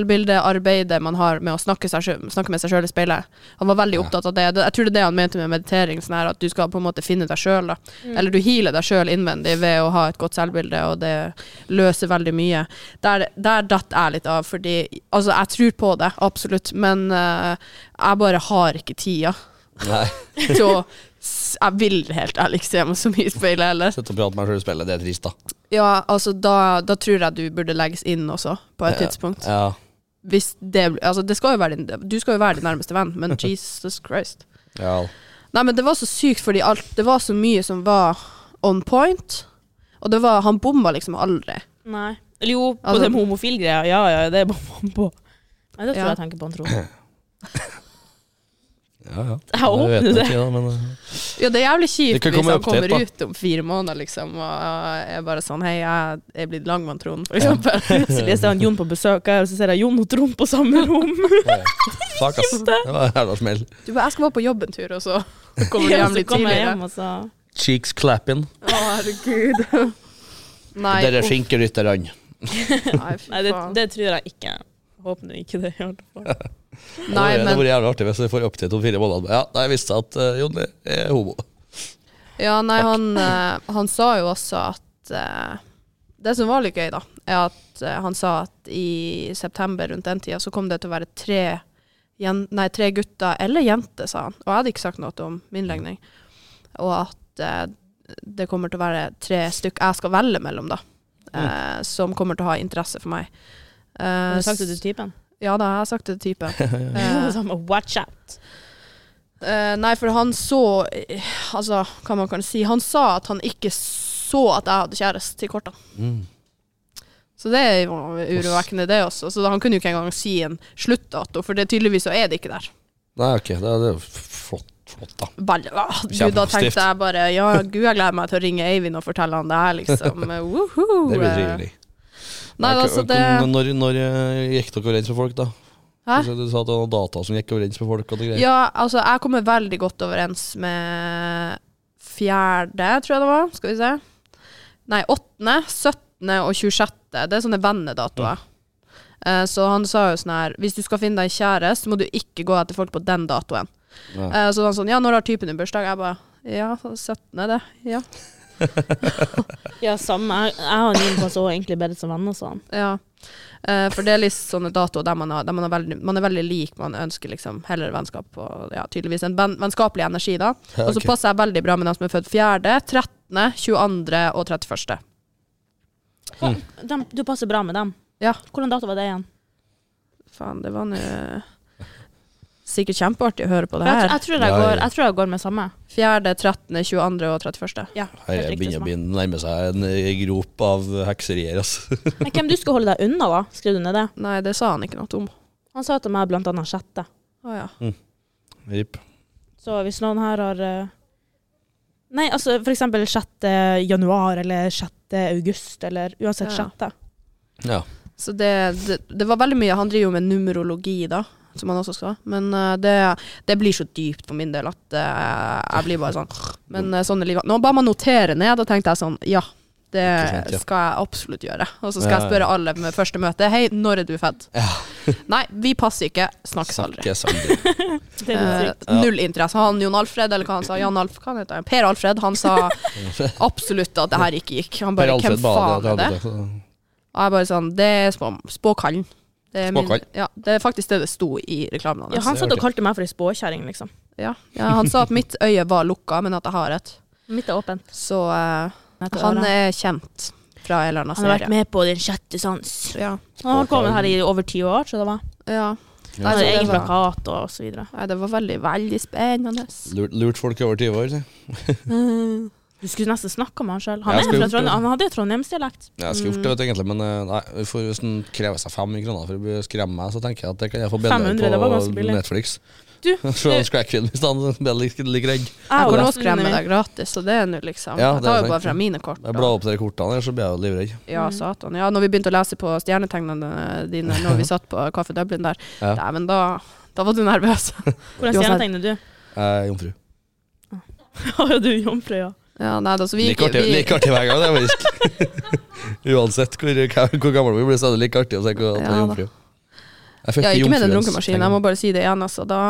selvbildearbeidet man har med å snakke, seg, sjø- snakke med seg sjøl i speilet. Han var veldig opptatt av det. Det- Jeg tror det er det han mente med meditering. Sånn her, at du skal på en måte finne deg sjøl. Mm. Eller du healer deg sjøl innvendig ved å ha et godt selvbilde, og det løser veldig mye. Der, der datt jeg litt av, fordi Altså, jeg tror på det, absolutt, men eh, jeg bare har ikke tida. Nei. Så s- jeg vil helt ærlig ikke se meg så mye i speilet heller. Sitte og prate med meg sjøl i spillet, det er trist, da. Ja, altså da, da tror jeg du burde legges inn også, på et tidspunkt. Ja. Hvis det, altså det skal jo være din, du skal jo være din nærmeste venn, men Jesus Christ. ja. Nei, men det var så sykt, fordi alt, det var så mye som var on point. Og det var, han bomma liksom aldri. Nei. Eller jo, på Altså- den homofilgreia. Ja, ja, det er bare man på. Nei, det tror Ja. jeg jeg tenker på han Trond. ja, ja. Jeg håper vet det. ikke, da, men eh, Ja, det er jævlig Det kjipt kan hvis komme han update, kommer da. ut om fire måneder, liksom, og øh, er bare sånn Hei, jeg er blitt langmann, Trond, for eksempel. Plutselig ser han Jon på besøk her, og så ser jeg Jon og Trond på samme rom. Fuck, ass. Det var en jævla smell. Du bare Jeg skal bare på jobb en tur, og så kommer du Ja, hjem så litt kommer jeg tidligere. hjem, altså. og så Cheeks clapping. Å, herregud. Nei, Dere er uff, flinke rytterne. nei, fy Nei, det, faen. det tror jeg ikke. Håper nå ikke det. i hvert Eh, fall. Det Nei, hadde vært- det hadde men, vært jævlig artig hvis vi får update om fire måneder. Ja, da jeg visste at uh, Jon er homo. ja, nei han, eh, han sa jo også at eh, Det som var litt gøy, da, er at eh, han sa at i september rundt den tida så kom det til å være tre, jen, nei, tre gutter eller jenter, sa han. Og jeg hadde ikke sagt noe om min legning. Og at eh, det kommer til å være tre stykk jeg skal velge mellom, da. eh, som kommer til å ha interesse for meg. Eh, Mm. Har du sagt det til typen? Ja da, jeg har sagt det til typen. Eh, Så han bare, Watch out! Eh, nei, for han så eh, Altså, hva man kan si. Han sa at han ikke så at jeg hadde kjæreste i kortene. Mm. Så det er jo urovekkende, det også. Så han kunne jo ikke engang si en sluttdato, for det, tydeligvis så er det ikke der. Nei, ok, det er, det er jo f- flott, flott, da. Bare, ah, Gud, da Kjempepositivt. tenkte jeg bare ja, gud, jeg gleder meg til å ringe Eivind og fortelle han det her, liksom. Woohoo! Det blir Eh, trivelig. Nei, Ok, altså, det Når, når eh, gikk dere overens med folk, da? Hæ? Du sa at det var data som gikk overens med folk. og det greier. Ja, altså, jeg kommer veldig godt overens med fjerde, tror jeg det var. Skal vi se. Nei, åttende, syttende og 26. Det er sånne vennedatoer. Eh, Så han sa jo sånn her Hvis du skal finne deg kjæreste, må du ikke gå etter folk på den datoen. Ja. Eh, Så han sånn Ja, når har typen din bursdag? Jeg bare Ja, 17. det. Ja. Ja, samme. Jeg, jeg og Jon passer også egentlig bedre som venner, sa han. ja. Eh, For det er litt sånne datoer der man, har, der man, er veldig, man er veldig lik. Man ønsker liksom heller vennskap og ja, tydeligvis en venn- vennskapelig energi, da. Ja, Og så ok. passer jeg veldig bra med dem som er født 4., 13., 22. og 31. Dem- Du passer bra med dem. Ja. Hvordan dato var det igjen? Faen, det var nå Sikkert kjempeartig å høre på det For Jeg, her. jeg, tror jeg, Ja, går, ja. jeg tror jeg går med samme. 4., 13., 22. og 31. Ja, Her er- begynner å begynne- nærme seg en eh, grop av hekserier. Altså. Men hvem du skal holde deg unna, da? Skrev du ned det? Nei, det sa han ikke noe om. Han sa til meg blant annet sjette. Å ja. Rip. Så hvis noen her har eh, Nei, altså for eksempel 6. januar eller 6. august eller uansett Ja. sjette. Ja. Så det, det, det var veldig mye. Han driver jo med numerologi, da, som han også skal. Men eh, det, det blir så dypt for min del at eh, jeg blir bare sånn Men eh, sånn er livet. Nå ba man notere ned, og da tenkte jeg sånn Ja, det Ikke sant, ja. skal jeg absolutt gjøre. Og så skal Ja, jeg ja. spørre alle med første møte Hei, når er du født? Ja. Nei, vi passer ikke. Snakkes aldri. Snakkes aldri. Det er litt Eh, sykt. Ja. null interesse. Han Jon Alfred, eller hva han sa, Jan Alf, hva han heter han? Per Alfred, han sa absolutt at det her ikke gikk. Han Per bare, hvem Alfred faen Bade. er det? Og jeg bare sånn, det er spå, spåkallen. Det er, min- Spåkallen? Ja, det er faktisk det det sto i reklamen hans. Ja, Ja, han satt og kalte meg for ei spåkjerring, liksom. ja, han sa at mitt øye var lukka, men at jeg har et. Mitt er åpent. Så eh, han Han, er, er kjent fra en eller annen han har vært serie. med på Den sjette sans. Ja. Han har kommet her i over 20 år, så det var ja. Han så hadde det egen var, plakat og så videre. nei, det var veldig, veldig spennende. Lurt, lurt folk i over 20 år. si. Du skulle nesten snakka med han sjøl. Han, Jeg er skulle fra gjort det. Trondheim- han hadde trondheimsdialekt. Ja, Jeg skulle gjort det, vet, du, egentlig, men eh, nei, vi får- hvis den krever seg fem kroner for å bli- skremme meg, så tenker jeg at det kan jeg få bedre 500, det var ganske på billig. Netflix. Du, Se om Scrack Film i stedet, så blir jeg litt- litt redd. Jeg og sånn, eh, kan også resten av skremme mine- deg gratis, så det er nå liksom Ja, Jeg det er tar jo sant. bare fra mine kort. Jeg da. blar opp de kortene, her, så blir jeg jo livredd. Ja, satan. Ja, når vi begynte å lese på stjernetegnene dine når vi satt på Kaffe Dublin der, Ja. nei, men da, da var du nervøs. Hvordan Uansett. stjernetegner du? Jeg er jomfru. Har du er jomfru, ja? Ja, nei, da, så vi, Like artig, vi- like artig hver gang, det er faktisk. Uansett hvor, hvor gammel vi blir, så er det like artig å tenke at jeg er Ja, da. jomfru. Jeg Ja, ikke med den runkemaskinen. Jeg må jomfruens tegn. bare si det igjen, altså. Da,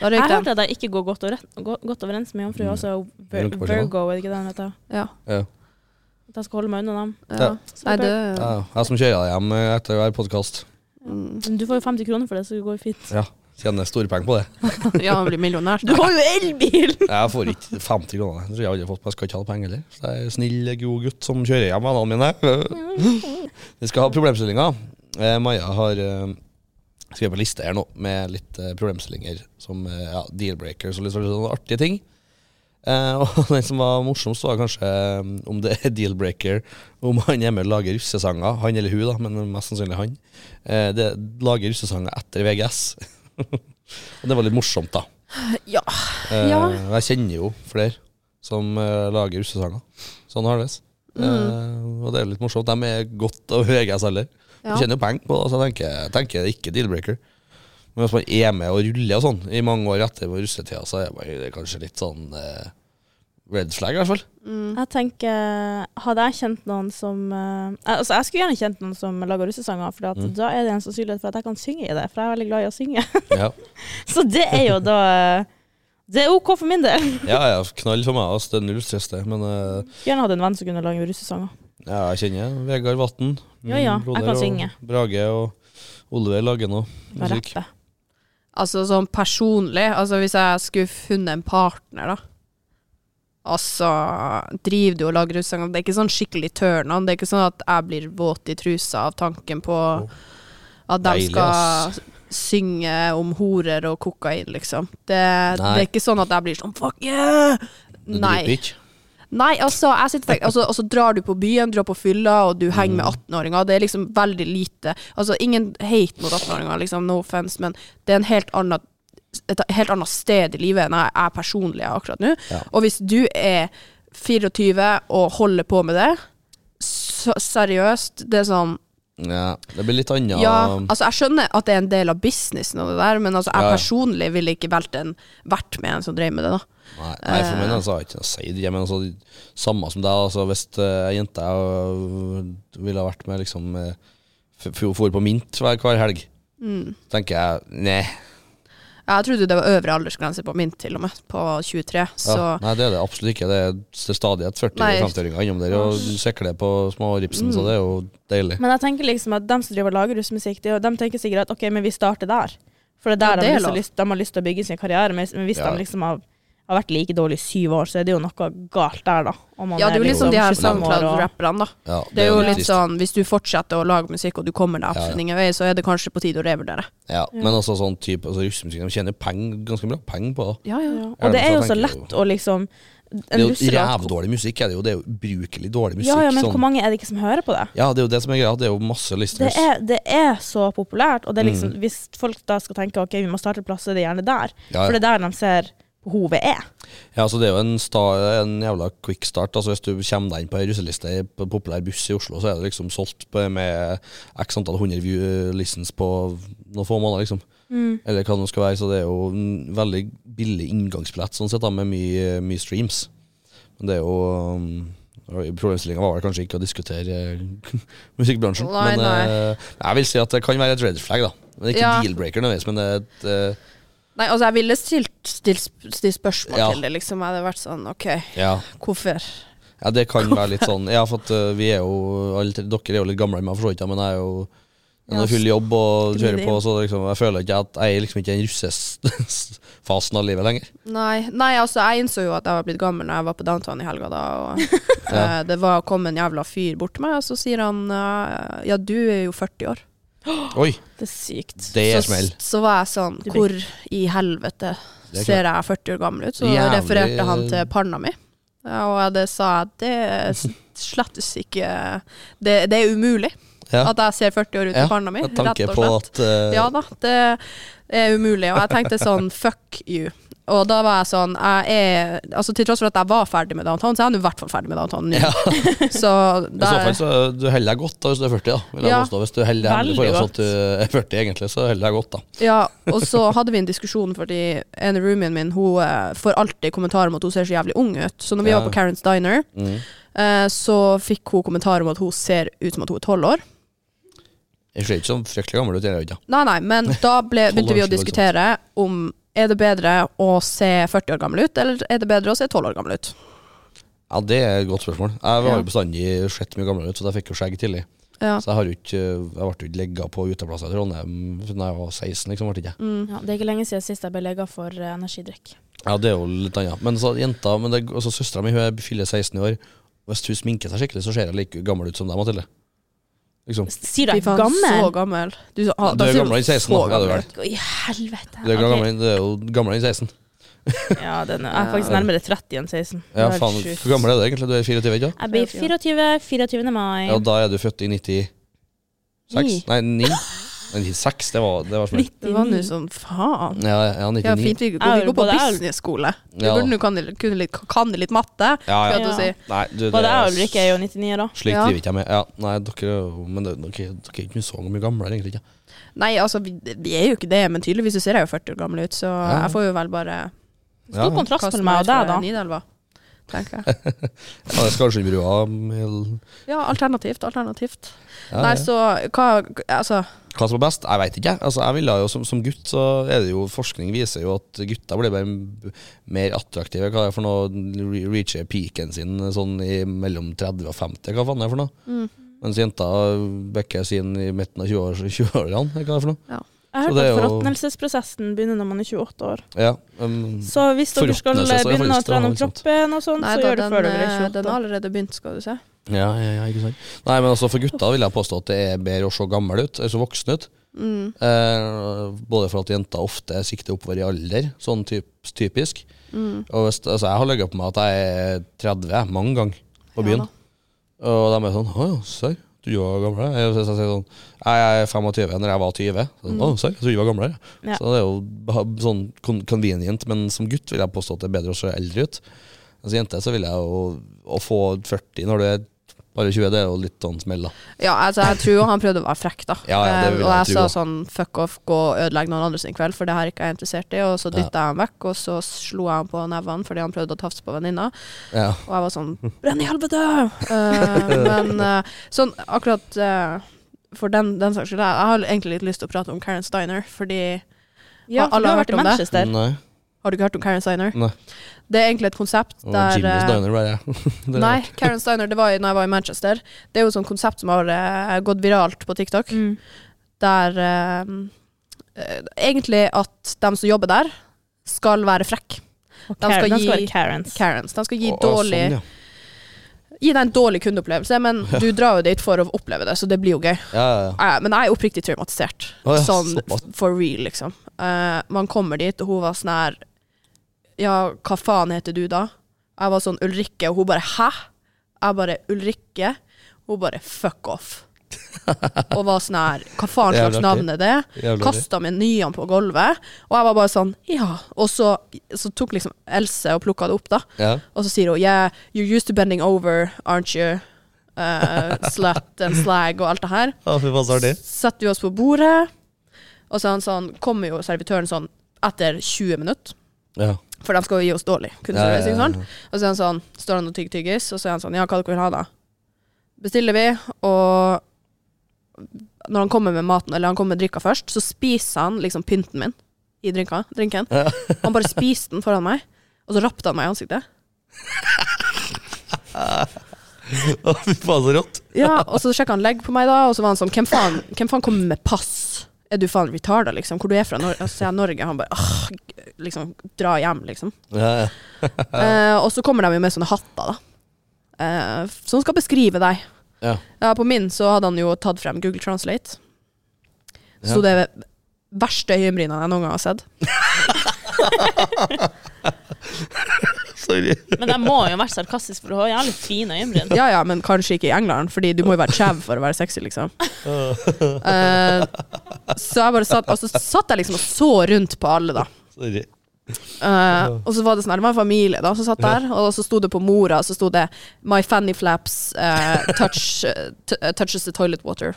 da Jeg røyk den. hørte at jeg ikke går godt, over, gå- godt overens med jomfru. Mm. Altså Det er nok Vir- forskjell, da. Virgo, er det ikke det den heter? Ja, At jeg skal holde meg unna dem. ja. Ja. Nei, det Ja, jeg som kjører deg hjem eh, etter hver podkast, mm, Men du får jo 50 kroner for det, så det går jo fint. tjener storpenger på det. Ja, han blir millionær. Du har jo elbil! Jeg får ikke 50 kroner. Jeg tror jeg aldri har fått, men jeg skal ikke ha penger heller. Så jeg er en snill, god gutt som kjører hjem vennene mine. Vi skal ha problemstillinger. Eh, Maja har eh, skrevet på liste her nå med litt eh, problemstillinger som eh, ja, deal-breakers og litt sånne artige ting. Eh, og den som var morsomst, var kanskje eh, om det er deal-breaker om han hjemme lager russesanger. Han eller hun, da, men mest sannsynlig han. Eh, det, lager russesanger etter VGS. og det var litt morsomt, da. Ja. Eh, Ja. Jeg kjenner jo flere som eh, lager russesanger. Sånn har det s. Eh, Mm. Mm. og det er litt morsomt. De er godt over VGS alder. Ja. Du tjener jo penger på det, så jeg tenker, tenker det ikke deal-breaker. Men hvis man er med og ruller og sånn i mange år etter på russetida, så er man- det er kanskje litt sånn eh, red flag, i hvert fall. Mm. Jeg tenker, Hadde jeg kjent noen som eh, Altså, jeg skulle gjerne kjent noen som lager russesanger, for at Mm. da er det en sannsynlighet for at jeg kan synge i det, for jeg er veldig glad i å synge. Ja, Så det er jo da eh, Det er OK for min del. ja, ja knall for meg. ass. Det er null stress, det. Men eh, Skulle gjerne hatt en venn som kunne lage russesanger. ja, jeg kjenner Vegard Vatn. Ja, ja, jeg kan synge. Og Brage og Oliver lager noe Og musikk. rappe. Altså sånn personlig, altså hvis jeg skulle funnet en partner, da. Altså, driver du og lager russesanger? Det er ikke sånn skikkelig turn on. Det er ikke sånn at jeg blir våt i trusa av tanken på at de Deilig, skal ass. synge om horer og kokain, liksom. Det, det Nei. er ikke sånn at jeg blir sånn fuck yeah! Det Nei. drypper ikke. Nei, altså, jeg sitter og tenker, altså, altså drar du på byen, drar på fylla, og du henger Mm. med 18-åringer, det er liksom veldig lite, altså ingen hate mot 18-åringer, liksom, no offense, men det er en helt annen, et helt annet sted i livet enn jeg er personlig er akkurat nå. Ja. Og hvis du er 24 og holder på med det, så, seriøst, det er sånn, Ja, det blir litt annet. ja, altså jeg skjønner at det er en del av businessen og det der, men altså jeg Ja, ja. personlig ville ikke vært, en, vært med en som drev med det da. Nei, nei, for min del så har jeg ikke noe å si. Jeg mener, altså, samme som deg, altså, hvis eh, ei jente jeg, øh, ville ha vært med liksom, eh, f- f- for på mint hver, hver helg, så tenker jeg nei. Jeg trodde det var øvre aldersgrense på min til og med, på 23. Så Ja, nei, det er det absolutt ikke. Det er s- stadig et 40- Nei. 50-åringer innom der og sikler på småripsen, så det er jo deilig. Men jeg tenker liksom at dem som driver og lager russmusikk, det er jo- de tenker sikkert at ok, men vi starter der. For det er der Ja, det de, har er lyst, lov. til- de har lyst til å bygge sin karriere. Men hvis men hvis Ja. de liksom har har vært like dårlig i syv år, så er det jo noe galt der, da. Om man Ja, det er jo litt liksom sånn de her 25 år og- SoundCloud-rapperne, da. Ja, Det er jo litt trist. sånn, Hvis du fortsetter å lage musikk, og du kommer deg absolutt Ja, ja. ingen vei, så er det kanskje på tide å revurdere. Ja, men også sånn type altså, Russemusikk, de tjener peng, ganske bra penger på det. Ja, ja. Og det er jo så Jeg tenker lett å liksom Det er jo russelåt- rævdårlig musikk. Er det, jo, det er jo ubrukelig dårlig musikk. Ja, ja, men sånn. hvor mange er det ikke som hører på det? ja, det er jo det som er greia. Det er jo masse Det listeners. er, det er så populært, og det er liksom, Mm. hvis folk da skal tenke ok, vi må starte et plass, så er det gjerne der. Ja, For ja. det er der de ser behovet er. ja, så det er jo en, sta, en jævla quick start. Altså, hvis du kommer deg inn på ei russeliste på en populær buss i Oslo, så er det liksom solgt på, med x antall hundre view- eh, listens på noen få måneder, liksom. Mm. Eller hva det nå skal være. Så det er jo en veldig billig inngangsbillett, sånn sett, da, med mye, mye streams. Men det er jo um, Problemstillinga var vel kanskje ikke å diskutere eh, musikkbransjen, Nei, men nei. eh, jeg vil si at det kan være et red flag, da. Men ikke Ja. deal-breaker nødvendigvis, men det er et eh, Nei, altså, jeg ville stilt, stilt, stilt spørsmål Ja. til det, liksom. Jeg hadde vært sånn, OK, ja. hvorfor? ja, det kan være litt sånn. Ja, for at eh, vi er jo alle, tre- Dere er jo litt gamle enn meg, for så vidt, ja, men jeg er jo jeg Ja, har full jobb og skriv kjører det på, så liksom, jeg føler ikke at jeg er liksom ikke i den russefasen av livet lenger. Nei, nei, altså, jeg innså jo at jeg var blitt gammel når jeg var på downtown i helga, da. Og, Ja. eh, det var, kom en jævla fyr bort til meg, og så sier han eh, ja, du er jo 40 år. Oi, Det er sykt. det er så, smell. så var jeg sånn, Du blir- hvor i helvete Det er ser jeg 40 år gammel ut? Så Jævlig- refererte han til panna mi. Ja, Og det sa jeg, det er s- slettes ikke Det, det er umulig Ja. at jeg ser 40 år ut i Ja, panna mi, Med rett tanke og på slett. at eh, Ja da, det er umulig. Og jeg tenkte sånn, fuck you. Og da var jeg sånn, jeg er Altså til tross for at jeg var ferdig med downtown, så er jeg nå i hvert fall ferdig med downtown nå. Ja. Så I så der fall så du holder deg godt da, hvis du er 40. da vil jeg Ja. påstå. Hvis du holder deg hemmelig Veldig foran sånn godt. at du er 40 egentlig, så holder du deg godt. da Ja, og så hadde vi en diskusjon fordi en i roomien min hun eh, får alltid kommentarer om at hun ser så jævlig ung ut. Så når vi Ja. var på Karen's Diner, mm. eh, så fikk hun kommentarer om at hun ser ut som at hun er tolv år. Jeg ser ikke så fryktelig gammel ut. Jeg, gjør ikke det. Nei, nei, men da ble, 12 begynte vi år, å så det er diskutere om er det bedre å se 40 år gammel ut, eller er det bedre å se 12 år gammel ut? ja, Det er et godt spørsmål. Jeg var Ja. jo bestandig sett mye gamlere ut, så jeg fikk jo skjegg tidlig. Ja. Så jeg, har jo ikke, jeg ble jo ikke legga på uteplasser i Trondheim da jeg var 16. liksom, ble ikke jeg. Mm. Ja, det er ikke lenge siden sist jeg ble lega for eh, energidrikk. Ja, det er jo litt annet. Men så jenta, men det, altså, søstera mi hun er- fyller 16 i år. Hvis hun sminker seg skikkelig, så ser jeg like gammel ut som deg, Mathilde. Liksom. Sier du Fy jeg er faen, så gammel? gammel. Mm. Du, sa- Du er sier gamlere enn 16, så da. Ja, du er gammel. vel. Å, I helvete. Du er, Ok. gammel, du er jo gamlere enn 16. Ja, den er, jeg er faktisk Ja. nærmere 30 enn 16. Ja, Det er faen, sjukt. Hvor gammel er du egentlig? Du er 24, ikke sant? Jeg blir 24 24. mai. Ja, da er du født i 96? Ni. Nei, 9. 96, det var, det var smelt. Det var nå 99. sånn, faen. Ja, ja, Ja, 99. fint, vi går, Jeg vi går på både jeg- business-skole. Du Ja. burde nå kan, kunne litt- kan litt matte. Ja, ja. Ja. Ja. Nei, du, det Både jeg er og Ulrikke er jo 99 år, da. Slik Ja. driver ikke jeg med. Ja, nei, dere, er jo- men det, dere, dere er ikke så mye gamlere, egentlig. ikke? Nei, altså, vi, vi er jo ikke det, men tydeligvis så ser jeg jo 40 år gammel ut, så Ja. jeg får jo vel bare Ja, Stor ja. kontrast mellom meg og deg, da. Nidelva, tenker jeg. Ja, det er Skarsunbrua med- Ja, alternativt, alternativt. ja, Nei, ja. så hva Altså, Hva som er best? Jeg veit ikke. jeg. Altså, jeg ville jo, som, som gutt så er det jo Forskning viser jo at gutter blir bare mer attraktive. Hva er det for noe? Re- Reacher peaken sin sånn i mellom 30 og 50, hva faen er det for noe? Mm. Mens jenta bekker sin i midten av 20-års- 20-årene. hva er det for noe? Jeg Så det hørte er at jo- forråtnelsesprosessen begynner når man er 28 år. Ja, um, Så hvis dere skal eh, Forråtnelse, så er det begynne å faktisk- trene det er om litt sant. kroppen, og sånt, nei Sånn så da, gjør det den, før dere eh, er den 28 har år. allerede begynt, skal du se. ja, ja, ja, ikke sant. Nei, men altså For gutter vil jeg påstå at det er bedre å se gammel ut, altså voksen ut. Mm. Eh, både for at jenter ofte sikter oppover i alder, sånn typ, typisk. Mm. Og hvis, altså, Jeg har ligget på meg at jeg er 30 jeg, mange ganger på byen. Ja da. og de er sånn Å ja, serr, du var gamlere? Jeg, jeg, jeg, sier sånn, jeg er 25 når jeg var 20. Sånn, Mm. Å, serr, jeg trodde du var gamlere. Ja. Så det er jo beha- sånn con- convenient, men som gutt vil jeg påstå at det er bedre å se eldre ut. Som jente så vil jeg jo å få 40 når du er bare 20, det er jo litt sånn smell, da. Ja, altså, jeg tror jo han prøvde å være frekk, da. Ja, ja, det Eh, vil jeg og jeg tro sa også. sånn fuck off, gå og ødelegg noen andre sin kveld, for det her ikke jeg er interessert i. Og så dytta jeg han vekk, og så slo jeg han på nevene fordi han prøvde å tafse på venninna. Ja. Og jeg var sånn Brenn i helvete! Eh, men eh, sånn akkurat eh, for den, den saks skyld Jeg jeg har egentlig litt lyst til å prate om Karen Steiner, fordi Ja, for alle du har har hørt vært i om det. Manchester. Nei. Har du ikke hørt om Karen Steiner? Nei. Det er egentlig et konsept Og der Jimmy's eh, Diner ble jeg. Det er Nei, rart. Karen Steiner, det var i- når jeg var i Manchester. Det er jo et sånt konsept som har eh, gått viralt på TikTok. Mm. der eh, eh, Egentlig at de som jobber der, skal være frekk. Og De Karen- skal de skal gi- være Karens. Karens. De skal gi, Å, å, dårlig, sånn, ja. gi deg en dårlig kundeopplevelse, men du drar jo dit for å oppleve det, så det blir jo gøy. Ja, ja, ja. Eh, Men jeg er oppriktig traumatisert. Å, ja, sånn såpass. f- for real, liksom. Eh, man kommer dit, og hun var sånn her Ja, hva faen heter du da? Jeg var sånn Ulrikke, og hun bare hæ? Jeg bare Ulrikke? Hun bare fuck off. og var sånn her Hva faen Jævlig slags artig. navn er det? Jævlig artig. Kasta menyene på gulvet, og jeg var bare sånn ja. Og så, så tok liksom Else og plukka det opp, da. ja. Og så sier hun yeah, you're used to bending over, aren't you? Eh, slut and slag og alt det her Ja, fy faen, så artig. setter vi oss på bordet, og så han sånn, kommer jo servitøren sånn etter 20 minutter. Ja. For de skal jo gi oss dårlig kundeservice. ikke sant? Og så er han sånn, står han og tygger tyggis, og så er han sånn Ja, hva dere vil ha, da? Bestiller vi, og når han kommer med maten, eller han kommer med drikka først, så spiser han liksom pynten min i drinka, drinken. Ja. Han bare spiste den foran meg, og så rapte han meg i ansiktet. Å, Fy faen, så rått. Ja, Og så sjekka han legg på meg, da, og så var han sånn Hvem faen, hvem faen kommer med pass? Er du faen retarda, liksom? Hvor du er fra? Nor og så er jeg Norge. Han bare «Åh, g- liksom, Dra hjem, liksom. Ja, ja. Eh, og så kommer de jo med sånne hatter, da. Eh, som skal beskrive deg. Ja. på min så hadde han jo tatt frem Google Translate. Så Ja. det er verste øyenbrynene jeg noen gang har sett. Sorry. Men de må jo være sarkastiske, for hun har jævlig fine øyenbryn. Ja ja, men kanskje ikke i England, fordi du må jo være skjev for å være sexy, liksom. Eh, så jeg bare satt, og så satt jeg liksom og så rundt på alle, da. Sorry. Eh, og så var det sånn her, det var en familie da, som satt der, og så sto det på mora, så sto det My fanny flaps eh, touch, eh, t- eh, touches the toilet water.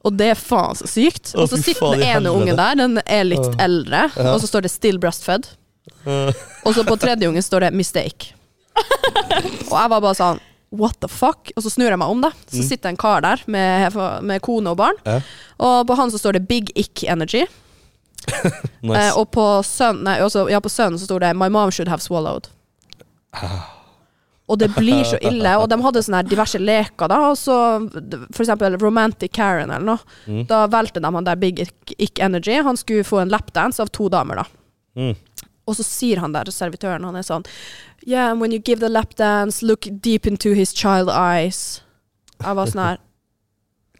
Og det er faen så sykt. Å, Og så fy sitter den faen i ene ungen der, den er litt Åh. eldre, Ja. og så står det 'still breastfed'. Og så på tredje ungen står det 'mistake'. Og jeg var bare sånn What the fuck? Og så snur jeg meg om, da. Så sitter en kar der med, med kone og barn, Mm. Ja. og på han så står det 'Big Ick Energy'. Eh, Nice. og på sønnen nei, også, ja, på sønnen så sto det 'My mom should have swallowed'. Og det blir så ille. Og de hadde sånne her diverse leker, da. Og så for eksempel Romantic Karen eller noe. Da valgte de han der Big Ick- Ick Energy. Han skulle få en lapdance av to damer, da. Mm. Og så sier han der servitøren, han er sånn Yeah, and when you give the lapdance, look deep into his child eyes. Jeg var sånn her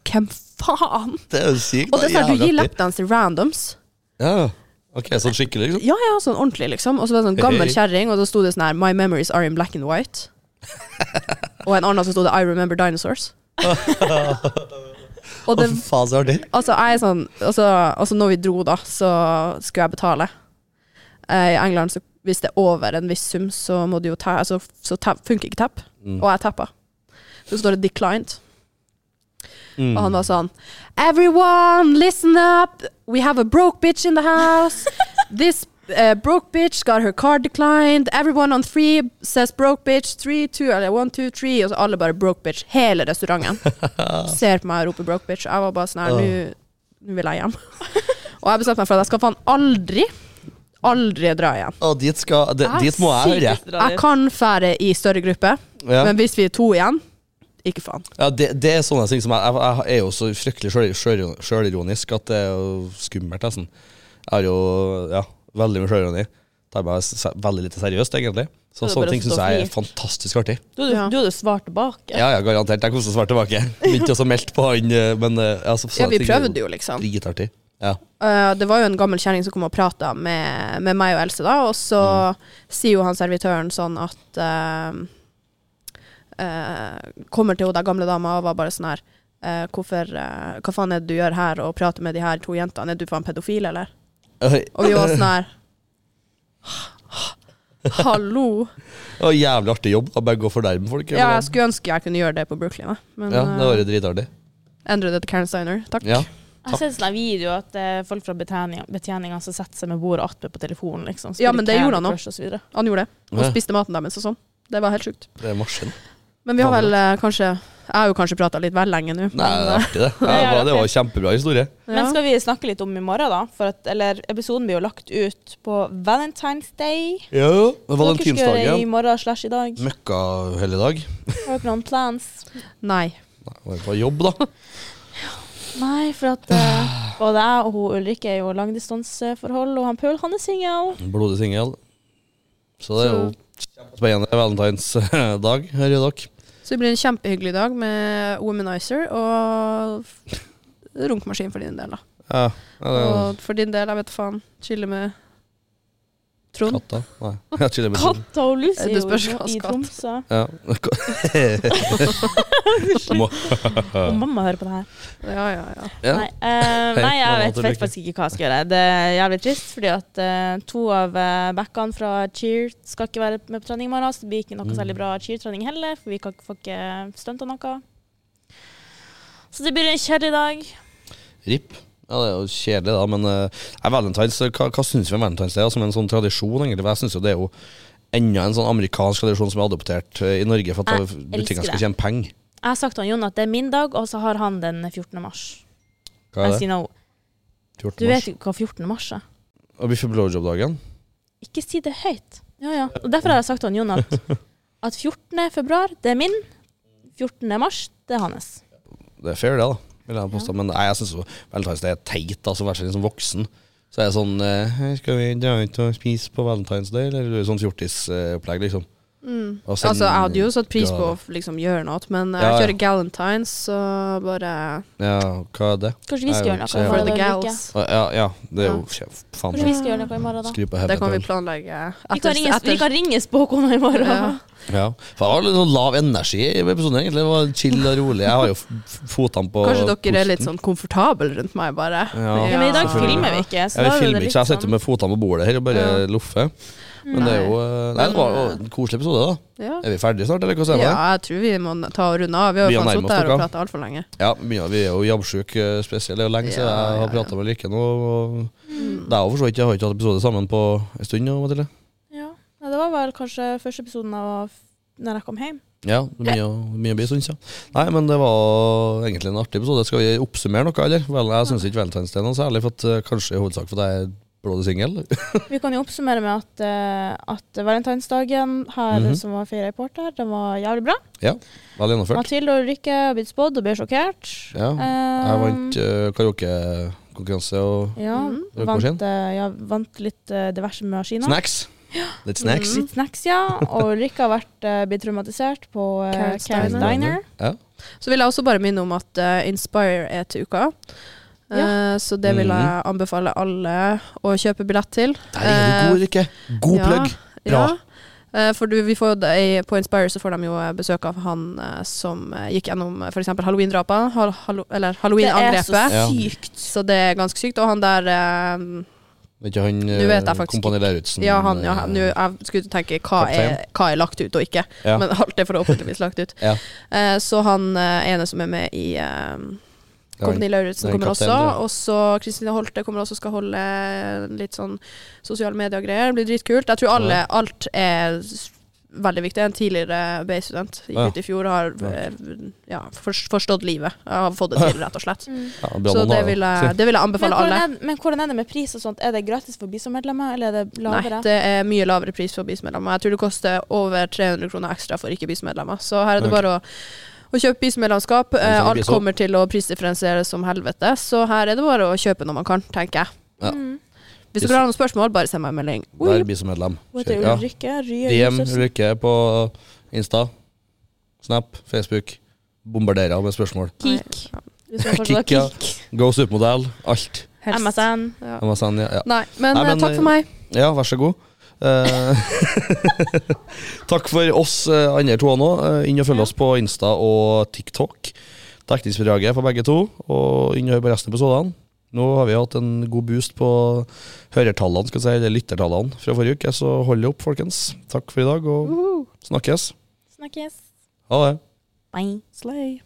Hvem faen? Det er jo sykt. Og det er sånn, her, du Jævlig gir artig. lapdance til randoms. Ja. Ok, sånn skikkelig, liksom? Ja, ja, sånn ordentlig, liksom. Og så var det sånn gammel kjerring, og da sto det sånn her My memories are in black and white. Og en annen så sto det I remember dinosaurs. og det Å, fy faen, så artig. Altså, jeg er sånn altså, altså, når vi dro, da, så skulle jeg betale. Eh, I England, så hvis det er over en viss sum, så må du jo ta altså, Så ta, funker ikke tapp. Og jeg tappa. Så står det 'declined'. Mm. Og han var sånn Everyone, listen up! We have a broke bitch in the house. This eh, broke bitch got her card declined. Everyone on three says broke bitch. Three, two, eller one, two, three. Og så alle bare broke bitch. Hele restauranten ser på meg og roper broke bitch. Jeg var bare sånn her, nå- nå vil jeg hjem. og jeg bestemte meg for at jeg skal faen aldri, aldri dra igjen. Å, dit, skal, det, dit må jeg høre. Sykeste Jeg drar dit. kan fære i større gruppe, Ja. Ah, men hvis vi er to igjen, ikke faen. Ja, det, det er sånne ting som jeg, jeg, jeg er jo så fryktelig sjøl- sjøl- sjølironisk at det er jo skummelt, nesten. Jeg har jo ja, veldig mye sjølironi. Tar meg se- veldig lite seriøst, egentlig. Så Så det er sånne bare ting å stå syns jeg er fri. fantastisk artig. Du hadde Ja. du hadde svart tilbake. Ja, ja, garantert. Jeg koser meg svært tilbake. Begynte også å melde på han, eh, men eh, altså, Ja, sånne vi ting er prøvde jo, liksom. Dritartig. Ja. Eh, det var jo en gammel kjerring som kom og prata med, med meg og Else, da, og så Mm. sier jo han servitøren sånn at eh, eh, Kommer til hun der gamle dama og var bare sånn her eh, Hvorfor eh, Hva faen er det du gjør her og prater med de her to jentene? Er du faen pedofil, eller? Og vi var sånn her Hallo! Og jævlig artig jobb. Da bare gå og fornærme folk. Ja, eller jeg skulle ønske jeg kunne gjøre det på Brooklyn, jeg. noe. men ja, det var eh, jo dritartig. endre det til Karen Steiner, takk. Ja. Jeg har sett sånne videoer at eh, folk fra betjeninga betjeninga som setter seg med bordet attmed på telefonen. liksom. Ja, men det Spiller gjorde han Candy også. Crush og så videre. Han gjorde det, og Ja. spiste maten deres og sånn. Det var helt sjukt. Det er marsjen. Men vi har vel eh, kanskje Jeg har jo kanskje prata litt vel lenge nå. Nei, det er men, eh, artig, det. Ja, er det, var, det var artig. kjempebra historie. ja. Men skal vi snakke litt om i morgen, da? For at, eller, episoden blir jo lagt ut på Valentine's Day. Ja, Hva dere skal gjøre i Valentinsdagen. morgen slash i dag? Møkkahelligdag. Har dere noen plans? Nei. Nei, Var på jobb, da. Nei, for at Ah. eh, både jeg og hun Ulrikke er jo langdistanseforhold, og han Paul, han er singel. Blodig singel. Så det er jo kjempespennende valentinsdag, hører dere. Så det blir en kjempehyggelig dag med womanizer og f- runkemaskin for din del, da. Ja, ja, det er jo Og for din del, jeg vet faen, chille med Trond. katta. Nei, jeg chiller med Trond. Katta og Lucy er Det jo spørs i- hva i skatt. Tromsø. Ja. Må- Og mamma hører på det her. Ja, ja, ja. ja. Nei, eh, Hei, nei jeg mamma vet, til vet Ulrikke. faktisk ikke hva jeg skal gjøre. Det er jævlig trist, fordi at eh, to av eh, backene fra cheer skal ikke være med på trening i morgen, så det blir ikke noe Mm. særlig bra cheer-trening heller, for vi kan, ikke- får ikke stunta noe. Så det blir en kjedelig dag. RIP. Ja, det er jo kjedelig, da, men eh, nei, valentines, hva, hva syns vi om valentines? Det er som en sånn tradisjon, egentlig. for Jeg syns jo det er jo enda en sånn amerikansk tradisjon som er adoptert eh, i Norge for at Jeg elsker butikkene skal det. tjene penger. Jeg har sagt til han Jon at det er min dag, og så har han den 14. mars. Hva Jeg er det? sier no. 14. Du mars? vet ikke hva 14. mars er. Å bli for blowjob-dagen? Ikke si det høyt. Ja, ja. Og derfor har jeg sagt til han Jon at, at 14. februar, det er min. 14. mars, det er hans. Det er fair, det, da. Vil jeg påstå. Men nei, jeg syns valentines det er teit, altså, i hvert fall som voksen. Så er det sånn eh, «Hei, Skal vi dra ut og spise på Valentine's Day, eller er det sånn fjortisopplegg, liksom? Mm. Og send- Altså, jeg hadde jo satt pris på Ja. å liksom gjøre noe, men jeg Ja, ja. kjører galentines, så bare Ja, hva er det? Kanskje vi Nei, skal gjøre noe så i jeg- for morgen? the da, Ulrikke? gals. Å, Ja, ja, det er jo kje- faen Kanskje vi skal gjøre noe i morgen, da? Skru på Det kan vi hevet. planlegge etter. Vi kan ringe, vi etter. kan ringe spåkona i morgen. Ja. Ja. For det var litt sånn lav energi i episoden, egentlig. Det var chill og rolig. Jeg har jo f- f- fotene på Kanskje dere er litt pusten. sånn komfortable rundt meg, bare. Ja. Ja, men i dag selvfølgelig. filmer vi ikke. Så Ja, vi da er det filmer litt ikke, så jeg sitter sånn- med fotene på bordet her og bare Ja. loffer. Men det er jo eh, Nei, det var jo en koselig episode, da. Ja. Er vi ferdige snart, eller hva sier ja, man? jeg tror vi må ta og runde av. Vi har Vi jo har faen nærmet sittet her dere. og prata altfor lenge. Ja, vi begynner- vi er jo jobbsjuke eh, spesielt. Det er jo lenge siden Ja, jeg ja, Mm. har prata med Lykke nå. Og det er jo for så vidt, jeg har ikke hatt episode sammen på en stund nå, Mathilde. Ja. Nei, Det var vel kanskje første episoden av når jeg kom hjem. Ja, det er mye, å- mye å bli stund siden. Nei, men det var egentlig en artig episode. Skal vi oppsummere noe, eller? Vel, jeg syns ikke Valentine's Day er noe særlig, for at, eh, kanskje i hovedsak fordi jeg er blodig singel. Vi kan jo oppsummere med at, eh, at valentinsdagen her Mhm. som var fire reporter, den var jævlig bra. Vel gjennomført. Mathilde og Ulrikke har blitt spådd og ble sjokkert. Ehm, Ja, Jeg vant eh, karaokekonkurranse og ja, Mm. vant, eh, ja, vant litt eh, diverse maskiner. snacks. Litt snacks. Mm. Litt snacks, ja. Og Ulrikke har vært, eh, blitt traumatisert på uh, Carrots Carrots Diner. Diner. Ja. Så vil jeg også bare minne om at eh, Inspire er til uka. Eh, så det vil jeg Mhm. anbefale alle å kjøpe billett til. Der er du god, Rikke. God plugg. Bra. Ja. Eh, For du, vi får, det- i- på Inspire så får de jo eh, besøk av han eh, som eh, gikk gjennom eh, for eksempel halloween-drapet, hal hallo eller så halloween-angrepet. Ja. sykt. Så det er ganske sykt. Og han der eh, Vet ikke han Nå vet jeg eh, faktisk Kompani Lauritzen Ja, han, ja, eh, han- nå, jeg skulle tenke hva er, hva er lagt ut og ikke, Ja. men alt er forhåpentligvis lagt ut. Ja. Eh, Så han eh, ene som er med i eh, Ja, han- Kompani Lauritzen det er en kommer kaptein, også, tror jeg. og så Kristine Holte kommer også og skal holde litt sånn sosiale medier og greier. Det blir dritkult. Jeg tror alle, Ja. alt er s- veldig viktig. En tidligere BI-student gikk Ja. ut i fjor og har Ja. eh, ja, fors- forstått livet. Jeg har fått det til, rett og slett. ja, bra Så navn, det da. vil jeg, det vil jeg Men anbefale hvordan, alle. er, men hvordan er det med pris og sånt? Er det gratis for BISO-medlemmer, eller er det Nei, lavere? det er mye lavere pris for BIS-medlemmer. Jeg tror det koster over 300 kroner ekstra for ikke-BIS-medlemmer. Så her er det Ok. bare å, å kjøpe BIS-medlemskap. Eh, kjenner Alt BIS også. kommer til å prisdifferensieres som helvete, så her er det bare å kjøpe når man kan, tenker jeg. Ja. Mm. Hvis dere har noen spørsmål, bare send meg en melding. Der blir som medlem. Hun heter Ja. Ulrikke Rye DM Josefsen. Ulrikke på Insta, Snap, Facebook. Bombarderer med spørsmål. Kik. Hvis man forstår Kik, ja. Kik. Go supermodell, alt. Helst. MSN. Ja. MSN, ja. ja. Nei, men, Nei, men, eh, takk for meg. Ja, vær så god. Eh, takk for oss eh, andre to nå. Eh, inn og følg oss på Insta og TikTok. Dekningsbidraget for begge to. Og inn og hør på resten av episodene. Nå har vi hatt en god boost på hørertallene, skal jeg si, eller lyttertallene fra forrige uke, så hold det opp, folkens. Takk for i dag, og snakkes. Snakkes. Ha det. Bye. Slay.